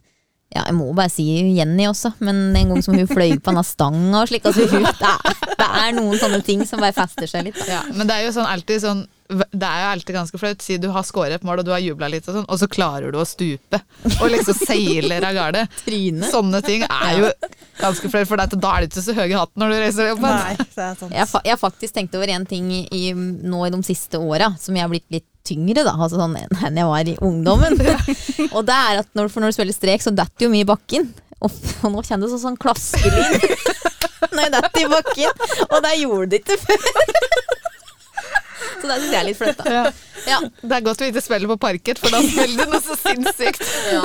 A: ja, jeg må bare si Jenny også, men en gang som hun fløy på denne stanga og slik, altså hun, det, er, det er noen sånne ting som bare fester seg litt. Da.
B: Ja, men det er jo sånn alltid sånn det er jo alltid ganske flaut. Si du har skåret et mål og du har jubla litt, og sånn, og så klarer du å stupe. Og liksom seiler av gårde.
A: Trynet.
B: Sånne ting er jo ganske flaut, for det, da er det ikke så høy i hatten når du reiser deg opp. igjen.
C: Nei, det er sant.
A: Jeg, har fa- jeg har faktisk tenkt over en ting i, i, nå i de siste åra som jeg har blitt litt tyngre da, altså sånn enn enn jeg var i ungdommen. og det er at når, for når du spiller strek, så detter jo mye i bakken. Og, og nå kjenner du sånn, sånn klaskelyd når jeg detter i bakken. Og det gjorde det ikke før. så det syns jeg er litt flaut, da.
B: Ja.
A: Ja.
B: Det er godt vi ikke spiller på parkett, for da spiller du noe så sinnssykt.
A: ja.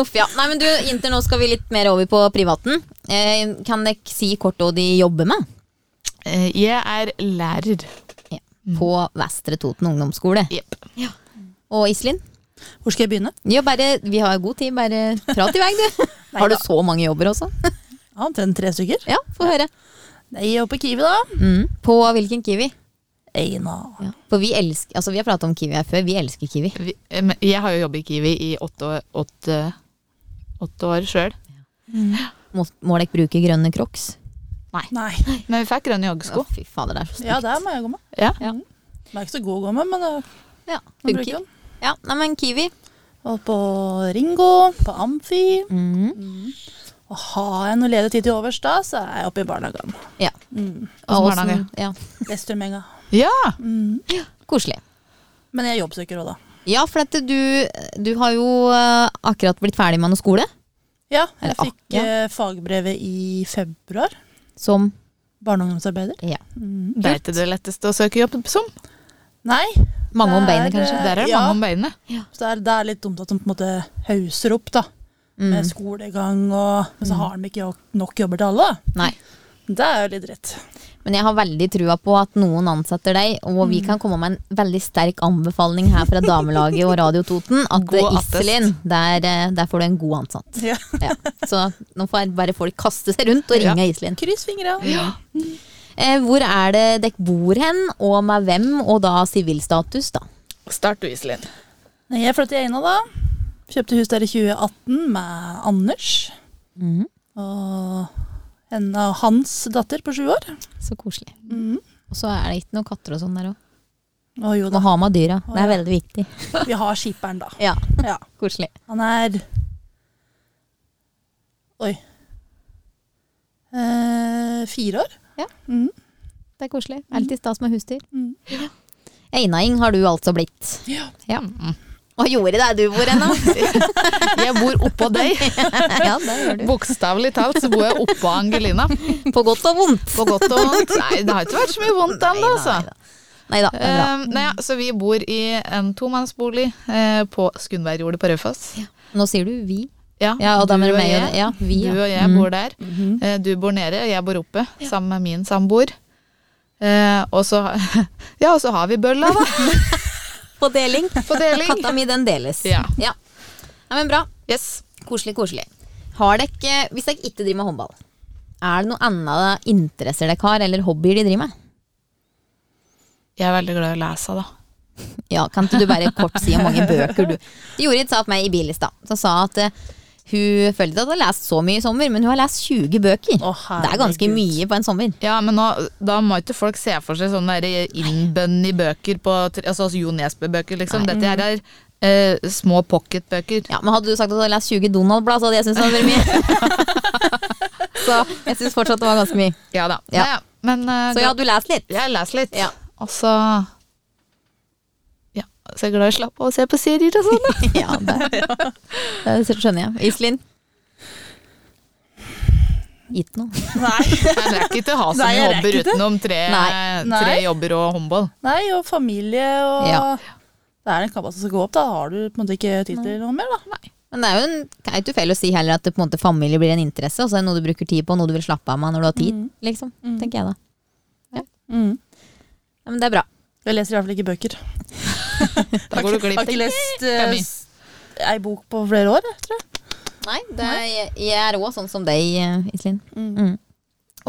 A: Uff, ja. Nei, men du, Inter, nå skal vi litt mer over på privaten. Eh, kan dere si kort hva de jobber med? Eh,
B: Jeg er lærer.
A: Ja. På Vestre Toten ungdomsskole.
B: Jepp.
A: Og Iselin?
C: Hvor skal jeg begynne?
A: Ja, bare, vi har god tid, bare prat i vei, du. Har du så mange jobber også?
C: Ja, Omtrent tre stykker.
A: Ja, få høre.
C: Nei, Jeg jobber på Kiwi, da.
A: På hvilken Kiwi?
C: Eina.
A: Mm. Ja. For vi elsker, altså vi har pratet om Kiwi her før, vi elsker Kiwi.
B: Vi- eh, men Jeg har jo jobbet i Kiwi i åtte, år- åtte, åtte år sjøl.
A: Må, må dere bruke grønne crocs?
C: Nei.
B: Men vi fikk grønne joggesko.
A: Å, fy fader, det er så stygt.
C: Ja, det må jeg gå med.
B: Ja.
A: Ja.
C: Mm. Den er ikke så god å gå med, men eh, jeg
A: Ja,
C: bruker
A: funker.
C: den.
A: Ja, nei, men Kiwi.
C: Og på Ringo, på Amfi.
A: Mm.
C: Og har jeg noe ledig tid til overs da, så er jeg oppe i barnehagen.
A: Ja.
C: Mm.
B: Og så
A: Åsen- ja.
C: Vesturmenga.
B: ja.
C: Mm.
A: Koselig.
C: Men jeg jobbsøker òg, da.
A: Ja, for at du, du har jo eh, akkurat blitt ferdig med noe skole.
C: Ja, jeg
A: Eller, ah,
C: fikk
A: ja.
C: eh, fagbrevet i februar.
A: Som
C: Barne- og ungdomsarbeider.
A: ja.
C: Mm.
B: Det er ikke det letteste å søke jobb som.
C: Nei,
A: mange om
C: Det er,
A: beinet, kanskje.
B: Der er det
C: Ja.
B: mange om beinet.
C: så det er, det er litt dumt at de på en måte hauser opp, da. Med
A: Mm.
C: skolegang og Men så har de ikke jo- nok jobber til alle, da.
A: Nei.
C: Det er jo litt dritt.
A: Men jeg har veldig trua på at noen ansetter deg, og vi kan komme med en veldig sterk anbefaling her fra damelaget og Radio Toten. At
B: God
A: eh,
B: attest.
A: Iselin, der, eh, der får du en god ansatt.
C: Ja.
A: Ja. Så nå får bare folk kaste seg rundt og ringe Iselin.
C: Kryss fingra.
B: Mm.
A: Eh, hvor er det dere bor hen, og med hvem, og da sivilstatus, da?
B: Start du, Iselin.
C: Nei, Jeg flyttet til Eina da. Kjøpte hus der i 2018 med Anders
A: Mhm.
C: og henne og hans datter på sju år.
A: Så koselig. Og så er det ikke noen katter og sånn der òg.
C: Og jo
A: Må
C: da,
A: ha med dyra. Det er veldig viktig.
C: vi har skipperen da.
A: Ja,
C: Ja.
A: koselig.
C: Han er Oi. Eh, fire år.
A: Ja.
C: Mhm.
A: Det er koselig. Det er Alltid stas med husdyr.
C: Mm.
A: Einaing har du altså blitt.
C: Ja.
A: ja. Og Jori, det er du bor ennå.
B: Mm. Jeg bor oppå deg.
A: ja, det gjør du.
B: Bokstavelig talt så bor jeg oppå Angelina.
A: På godt og vondt.
B: På godt og vondt. Nei, det har ikke vært så mye vondt ennå, altså.
A: Nei da, det er bra. Mm.
B: Eh, nei, ja, så vi bor i en tomannsbolig eh, på Skundbergjordet på Raufoss.
A: Nå sier du vi.
B: Ja,
A: Ja, og da
B: du
A: mener
B: og
A: du meg og
B: jeg,
A: det. Ja, vi. ja.
B: du og jeg
A: Mm.
B: bor der. Eh, Du bor nede, og jeg bor oppe, sammen med min samboer. Eh, og så Ja, og så har vi bølla, da.
A: På deling.
B: På deling.
A: Katta mi, den deles.
B: Ja.
A: ja. Nei, men bra.
B: Yes.
A: Koselig, koselig. Har dere, hvis dere ikke driver med håndball, er det noe annet interesser dere har, eller hobbyer de driver med?
B: Jeg er veldig glad i å lese, da.
A: Ja, kan ikke du bare kort si om mange bøker du Jorid sa til meg i bil i stad, som sa at eh, hun følte at hun har lest så mye i sommer, men hun har lest 20 bøker.
C: Å,
A: det er ganske
C: herregud.
A: mye på en sommer.
B: Ja, men nå, da må ikke folk se for seg sånne der innbønn i bøker på tre- Altså Jo Nesbø-bøker, liksom. Dette her er eh, små pocketbøker.
A: Ja, men Hadde du sagt at du hadde lest 20 Donald-blad, så hadde jeg syntes det hadde vært mye. så jeg syns fortsatt det var ganske mye.
B: Ja da.
A: Ja.
B: Nei, ja. Men eh,
A: Så ja, du leser litt.
B: jeg leser litt.
A: Ja.
B: Og så Ja, så er jeg glad i å slappe av og se på serier og sånn.
A: ja, det, det skjønner jeg. Iselin? Gitt noe.
C: Nei.
B: Nei, Det er ikke til å ha så
C: Nei,
B: mye
C: jeg rekker
B: jobber
C: ikke.
B: utenom tre,
A: Nei.
B: tre
C: Nei.
B: jobber og håndball.
C: Nei, og familie og
A: Ja.
C: Det er en kamp som skal gå opp, da har du på en måte ikke tid til noe mer, da.
A: Men det er jo en, det er jo ikke feil å si heller at det på en måte familie blir en interesse, og så er det noe du bruker tid på, noe du vil slappe av med når du har tid, liksom. Tenker jeg da.
C: Mm.
A: Ja, men det er bra.
C: Jeg leser i hvert fall ikke bøker.
B: Da går du
C: Jeg
B: glipp
C: har ikke lest
B: Kan
C: eh,
B: vi?
C: s- ei bok på flere år, jeg tror jeg.
A: Nei, det er, jeg- jeg er òg sånn som deg, eh, Iselin.
C: Mm.
A: Mm.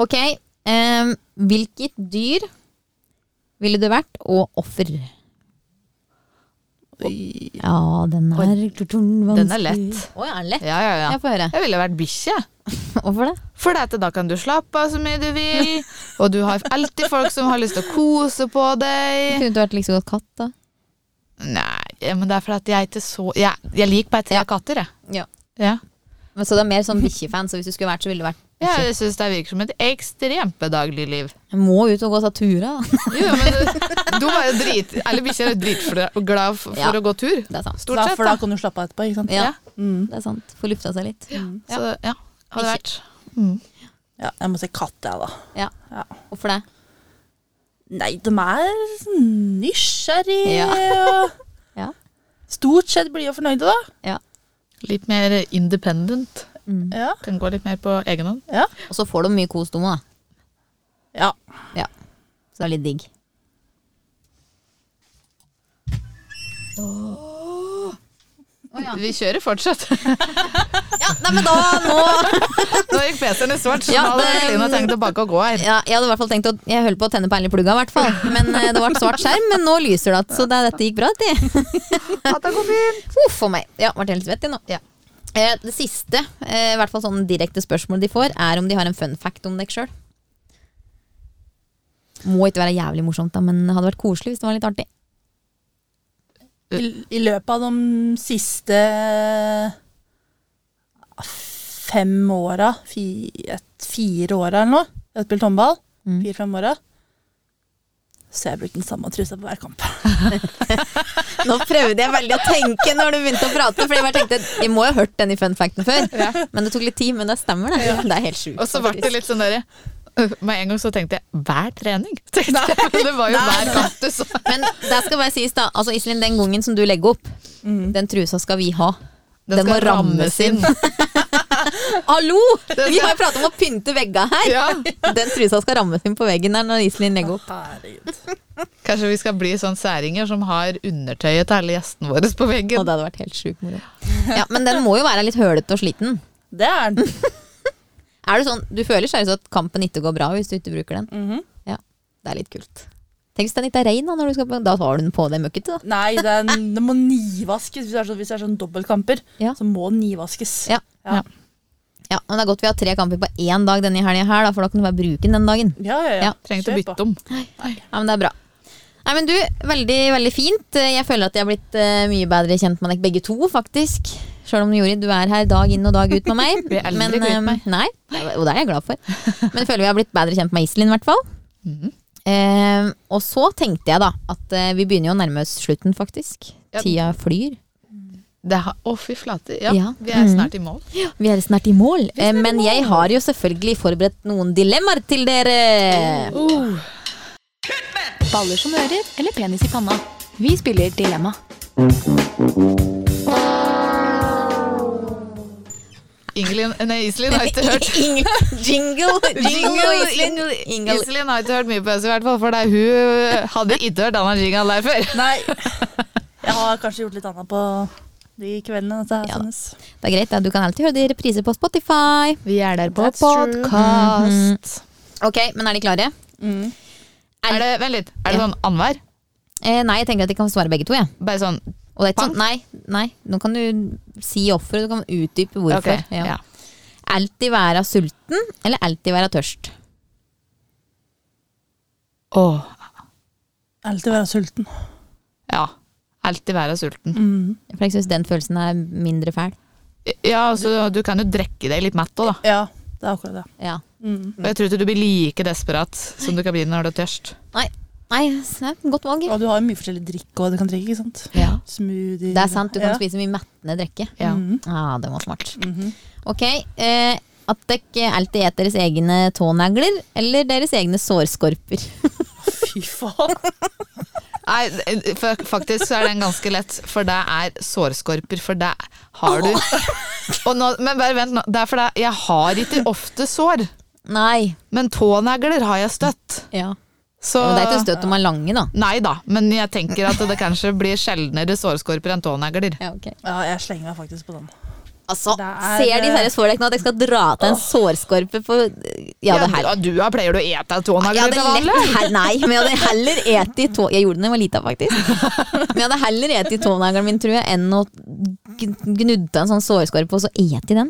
A: Ok. em, hvilket dyr ville du vært, og offer?
C: Oi.
A: Ja, den er
B: Den er lett.
A: Å, ja, den er lett.
B: Ja, ja, ja.
A: Jeg får høre.
B: Jeg ville vært bikkje.
A: Hvorfor det?
B: For dette, da kan du slappe av så mye du vil, og du har alltid folk som har lyst til å kose på deg.
A: Kunne du vært like så godt katt, da?
B: Nei, ja, men det er fordi at jeg er ikke så Jeg, jeg liker bare tre katter, jeg.
A: Ja.
B: Ja.
A: Men så det er mer sånn bikkjefan, så hvis du skulle vært, så ville du vært bikkje.
B: Jeg syns det virker som et ekstremt bedagelig liv.
A: Jeg må ut og gå seg turer, da.
B: Jo, men du- de er jo drit Alle bikkjer er jo dritglade for,
A: Ja.
B: for å gå tur.
A: Det er sant.
B: Stort
C: Da-
B: sett,
C: For da
B: da.
C: kan du slappe av etterpå, ikke sant.
A: Ja,
C: Mm.
A: det er sant. Få lufta seg litt.
B: Så ja, hadde
A: Bikkje.
B: vært
C: ja jeg må se katt, jeg, da.
A: Ja.
C: Ja.
A: Hvorfor det?
C: Nei, de er sånn nysgjerrige og
A: Ja.
C: stort sett blide og fornøyde, da.
B: litt mer independent.
A: Mm.
C: Ja.
B: Kan gå litt mer på egen hånd.
C: Ja.
A: Og så får du mye kos, Tomo, da.
C: ja.
A: Så det er litt digg.
B: Vi kjører fortsatt.
A: Ja, nei, men da, nå
B: Nå gikk PC-en i svart, så
A: Ja,
B: nå hadde
A: det-
B: Line tenkt å banke og gå her.
A: ja, Jeg hadde i hvert fall tenkt å Jeg holdt på å tenne på alle plugga, i hvert fall. Men eh, det ble svart skjerm, men nå lyser det igjen, så det, dette gikk bra. Det.
B: At det går fint.
A: Uff for meg. Ja, ble helt svett i nå.
B: Ja.
A: Eh, Det siste, eh, i hvert fall sånne direkte spørsmål de får, er om de har en fun fact om deg sjøl. Må ikke være jævlig morsomt, da, men det hadde vært koselig hvis det var litt artig.
C: I, I løpet av de siste ah, fem åra, fi, et- fire åra eller noe, jeg har spilt håndball,
A: Mm.
C: fire-fem åra, så har jeg brukt den samme trusa på hver kamp.
A: Nå prøvde jeg veldig å tenke når du begynte å prate, for jeg bare tenkte vi må jo ha hørt den i fun facten før. Men det tok litt tid, men det stemmer, det. Det er helt sjukt.
B: Og så ble det
A: faktisk.
B: litt sånn derre Med en gang så tenkte jeg hver trening. Tenkte jeg. Men det var jo hver kamp du så.
A: Men det skal bare sies, da. Altså, Iselin, den gangen som du legger opp, den trusa skal vi ha. Den, må
B: Mm. skal
A: rammes inn. Hallo!
B: Den
A: Vi
B: skal-
A: har jo pratet om å pynte veggene her.
B: Ja.
A: Den trusa skal rammes inn på veggen der når Iselin legger opp.
C: Herregud.
B: Kanskje vi skal bli sånn særinger som har undertøyet til alle gjestene våre på
A: Og
B: veggen.
A: det hadde vært helt sjukt moro. Ja, men den må jo være litt hølete og sliten.
C: Det er den.
A: Er det sånn, Du føler seriøst at kampen ikke går bra hvis du ikke bruker den.
C: Mhm.
A: Ja, Det er litt kult. Tenk hvis den ikke er rein, da. Når du skal, på- da tar du den på det møkkete, da.
C: Nei, den, den må nivaskes. Hvis det er sånn, hvis det er sånn dobbeltkamper,
A: Ja.
C: så må den nivaskes.
A: Ja.
C: Ja.
A: Ja, men Det er godt vi har tre kamper på én dag denne helga her, da, for da kan du bare bruke den den dagen.
C: Ja, ja, ja.
A: Ja,
B: Trengte å
C: Kjør på.
B: bytte om.
A: Ja, men det er bra. Nei, men du, veldig, veldig fint. Jeg føler at jeg har blitt eh, mye bedre kjent med deg begge to, faktisk. Sjøl om Jori, du er her dag inn og dag ut med meg.
B: Blir aldri
A: men,
B: kvitt
A: eh,
B: meg.
A: Nei, og det er jeg glad for. Men jeg føler vi har blitt bedre kjent med Iselin, i hvert fall.
B: Mhm.
A: Eh, og så tenkte jeg da at eh, vi begynner jo å nærme oss slutten, faktisk.
B: Ja.
A: Tida flyr.
B: Det har- Å, fy flate. Ja,
A: Ja.
B: vi er snart i mål.
A: Vi er snart i mål. Eh, men jeg har jo selvfølgelig forberedt noen dilemmaer til dere.
D: Uh. Baller som ører eller penis i panna? Vi spiller Dilemma.
B: Ingelin, nei, Iselin har ikke hørt
A: Jingle, jingle, jingle, og Iselin. Jingle.
B: Iselin har ikke hørt mye på oss i hvert fall, for det er hun hadde ikke hørt denne jingelen der før.
C: Nei. Jeg har kanskje gjort litt annet på de kveldene dette her
A: Ja da.
C: sendes.
A: Det er greit, det. du kan alltid høre det i repriser på Spotify.
B: Vi er der på
C: That's true.
B: podkast.
A: Ok, men er de klare?
C: Mm.
B: Mm-hmm. Er det, vent litt, er det
A: Ja.
B: sånn annenhver?
A: Eh, nei, jeg tenker at de kan svare begge to. Ja.
B: Bare sånn
A: Og det er ikke
B: Pang.
A: sånn, nei, nei, nå kan du si offeret, du kan utdype hvorfor.
B: ok,
A: Ja.
B: ja.
A: Alltid være sulten, eller alltid være tørst?
B: Åh,
C: Alltid være sulten.
B: ja. Alltid være sulten.
C: Mm.
A: For jeg syns den følelsen er mindre fæl.
B: Ja, altså, du kan jo drekke deg litt mett òg, da.
C: Ja, det er akkurat det.
A: Ja.
C: Mm.
B: Og jeg tror ikke du blir like desperat som du kan bli når du er tørst.
A: Nei, nei, det er et godt valg.
C: Og du har jo mye forskjellig drikk og du kan drikke, ikke sant?
A: Ja.
C: Smoothie.
A: Det er sant, du kan
C: ja.
A: spise mye mettende drikke.
B: Ja.
C: Mm.
A: Ah, det var smart.
C: Mhm.
A: Ok, eh, at dere alltid spiser deres egne tånegler, eller deres egne sårskorper?
C: Fy faen.
B: Nei, for, faktisk så er den ganske lett, for det er sårskorper, for det har du. Og nå, men bare vent nå, det er for det, jeg har ikke ofte sår,
A: Nei.
B: men tånegler har jeg støtt.
A: Ja.
B: Så,
A: Men det er ikke støt om man er lange, da.
B: Nei da, men jeg tenker at det kanskje blir sjeldnere sårskorper enn tånegler.
A: Ja, ok.
C: Ja, jeg slenger meg faktisk på den.
A: Altså,
C: Det er-
A: ser de seriøst for deg nå at jeg skal dra til en sårskorpe på Ja, det her.
B: Ja, du, ja, pleier du å ete
A: Jeg
B: tånegler
A: hadde
B: til vanlig?
A: lett, he- nei, men jeg hadde heller et i tå... Jeg gjorde den da jeg var lita, faktisk. Men jeg hadde heller et i tåneglen min, tror jeg, enn å gn- gnudde en sånn sårskorpe og så ete i den.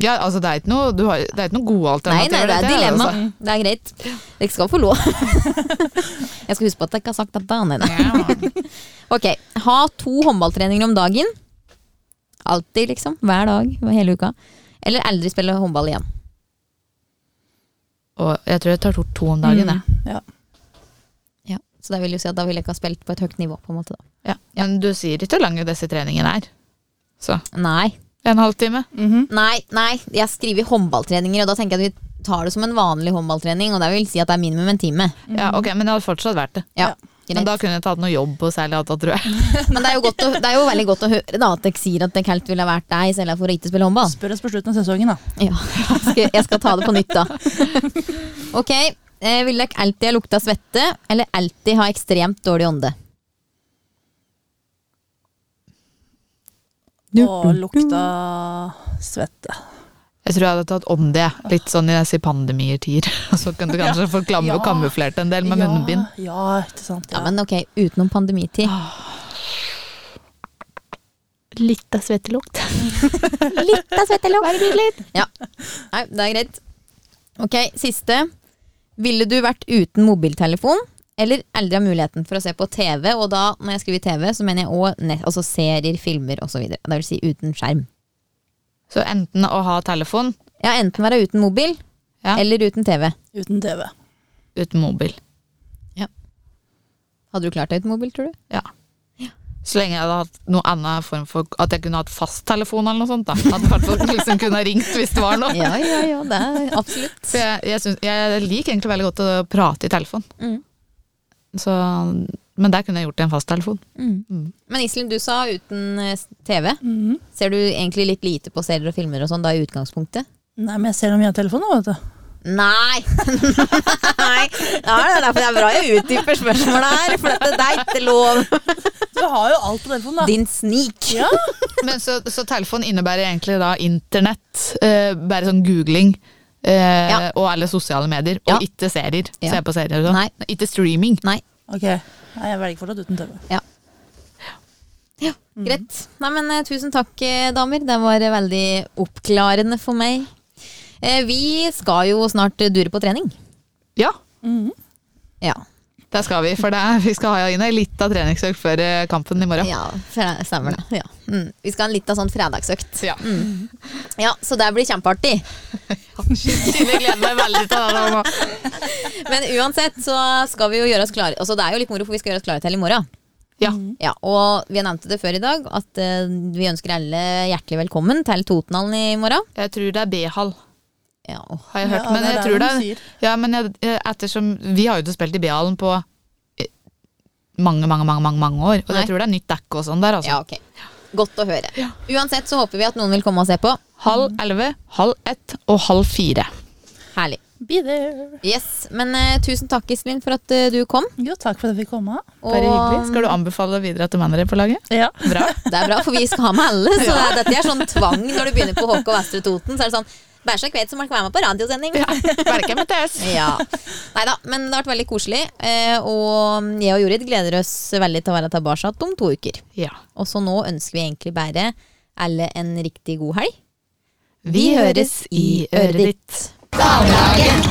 B: Ja, altså, det er ikke noe, du har, det er ikke noe gode
A: Nei, nei,
B: alternativer.
A: det er
B: dette,
A: dilemma.
B: altså.
A: Det er greit. Dere skal få lov. Jeg skal huske på at jeg ikke har sagt dette. Nei,
B: altså.
A: nei.
B: Ja.
A: Ok, ha to håndballtreninger om dagen. Alltid, liksom. Hver dag, hele uka. Eller aldri spille håndball igjen.
B: Og jeg tror jeg tar bort to om dagen, jeg.
C: Mm, Ja.
A: Ja, så det vil jo si at da ville jeg ikke ha spilt på et høyt nivå, på en måte. da.
B: Ja. Men du sier ikke hvor lang disse treningene er. Så
A: Nei,
B: en halvtime.
C: Mhm.
A: nei, nei. Jeg skriver håndballtreninger, og da tenker jeg at vi tar det som en vanlig håndballtrening, og det vil si at det er minimum en time.
B: Ja, ok, Men det hadde fortsatt vært det.
A: Ja,
B: Men
A: greit.
B: da kunne jeg tatt noe jobb og særlig alt, tror jeg.
A: Men det er, jo godt å, det er jo veldig godt å høre da, at dere sier at dere helt ville ha vært deg, selv for å ikke spille håndball.
C: Spør oss på slutten av sesongen, da.
A: Ja, jeg skal, jeg skal ta det på nytt, da. Ok, eh, vil dere alltid ha lukta svette, eller alltid ha ekstremt dårlig ånde?
C: Og lukta svette.
B: Jeg tror jeg hadde tatt om det. Litt sånn jeg sier pandemier-tier. Og så kunne du kanskje fått klammer og
C: Ja.
B: kamuflert en del med munnbind.
C: Ja, ikke sant.
A: Ja, men ok, utenom pandemitid.
D: Litt av svettelukt.
A: Litt av svettelokk. Ja. Nei, det er greit. Ok, siste. Ville du vært uten mobiltelefon, eller aldri ha muligheten for å se på TV? Og da, når jeg skriver TV, så mener jeg òg altså serier, filmer osv. Det vil si uten skjerm.
B: Så enten å ha telefon
A: Ja, enten være uten mobil,
B: Ja.
A: eller uten TV.
C: Uten TV.
B: uten mobil.
A: Hadde du klart deg uten mobil, tror du?
B: Ja. Så lenge jeg hadde hatt noe annen form for At jeg kunne hatt fasttelefon eller noe sånt. da At jeg i hvert fall liksom kunne ha ringt hvis det var noe.
A: Ja, ja, ja, det er absolutt.
B: For jeg, jeg, syns- jeg liker egentlig veldig godt å prate i telefon.
A: Mm.
B: Så, men der kunne jeg gjort det i en fasttelefon.
A: Mm. Men Iselin, du sa uten eh, TV. Ser du egentlig litt lite på serier og filmer og sånn da i utgangspunktet?
C: Nei, men jeg ser dem via telefonen nå, vet du.
A: Nei! Nei. Ja, det er derfor det er bra jeg utdyper spørsmålet her. For dette det er ikke lov.
C: Du har jo alt på telefonen, da.
A: Din snik.
C: Ja,
B: Men så, så telefon innebærer egentlig da internett, eh, bare sånn googling, eh,
A: Ja.
B: og alle sosiale medier.
A: Ja.
B: Og ikke serier.
A: Ja.
B: Se på serier og
A: Nei.
B: sånn. Ikke streaming.
A: Nei.
C: Ok, Nei, jeg velger fortsatt uten TV.
A: Ja, greit. Nei, men eh, tusen takk, eh, damer. Det var eh, veldig oppklarende for meg. Eh, vi skal jo snart eh, dure på trening.
B: Ja,
A: Ja.
B: der skal vi. For det, er- vi skal ha inn ei lita treningsøkt før eh, kampen i morgen.
A: ja fra- stemmer det. Ja. Mm. Vi skal ha en liten sånn fredagsøkt.
B: Ja.
A: Ja, Så det blir kjempeartig.
B: Jeg gleder meg veldig til det. nå.
A: Men uansett så skal vi jo gjøre oss klare. Altså, det er jo litt moro, for vi skal gjøre oss klare til i morgen.
B: Ja.
A: Ja, og vi nevnte det før i dag, at eh, vi ønsker alle hjertelig velkommen til Totenhallen i morgen.
B: Jeg tror det er B-hall,
A: Ja, åh.
B: har jeg hørt.
C: Ja,
B: men
C: det er
B: jeg
C: det
B: tror det
C: de
B: er, ja, men jeg, jeg- ettersom Vi har jo ikke spilt i B-hallen på eh, mange, mange, mange mange, mange år. Og
A: Nei.
B: jeg tror det er nytt dekke og sånn der. Altså.
A: ja, ok. Godt å høre. Uansett så håper vi at noen vil komme og se på.
B: Halv elleve, halv ett og halv fire.
A: Herlig.
C: Be there.
A: Yes, Men eh, tusen takk, Iselin, for at eh, du kom.
C: Jo, takk for at jeg fikk komme.
A: Og
B: Bare hyggelig. Skal du anbefale videre til mennene på laget?
C: Ja.
B: Bra.
A: Det er bra, for vi skal ha med alle. Så det er, dette er sånn tvang når du begynner på HK Vestre Toten. Så er det sånn Bæsja kvet som man kan være med på radiosending.
B: Ja. Velkommen til oss.
A: Ja. Nei da, men det har vært veldig koselig. eh, Og jeg og Jorid gleder oss veldig til å være tilbake om to uker.
B: Ja.
A: Og så nå ønsker vi egentlig bare alle en riktig god helg.
B: Vi høres i øret ditt.
A: Damedagen!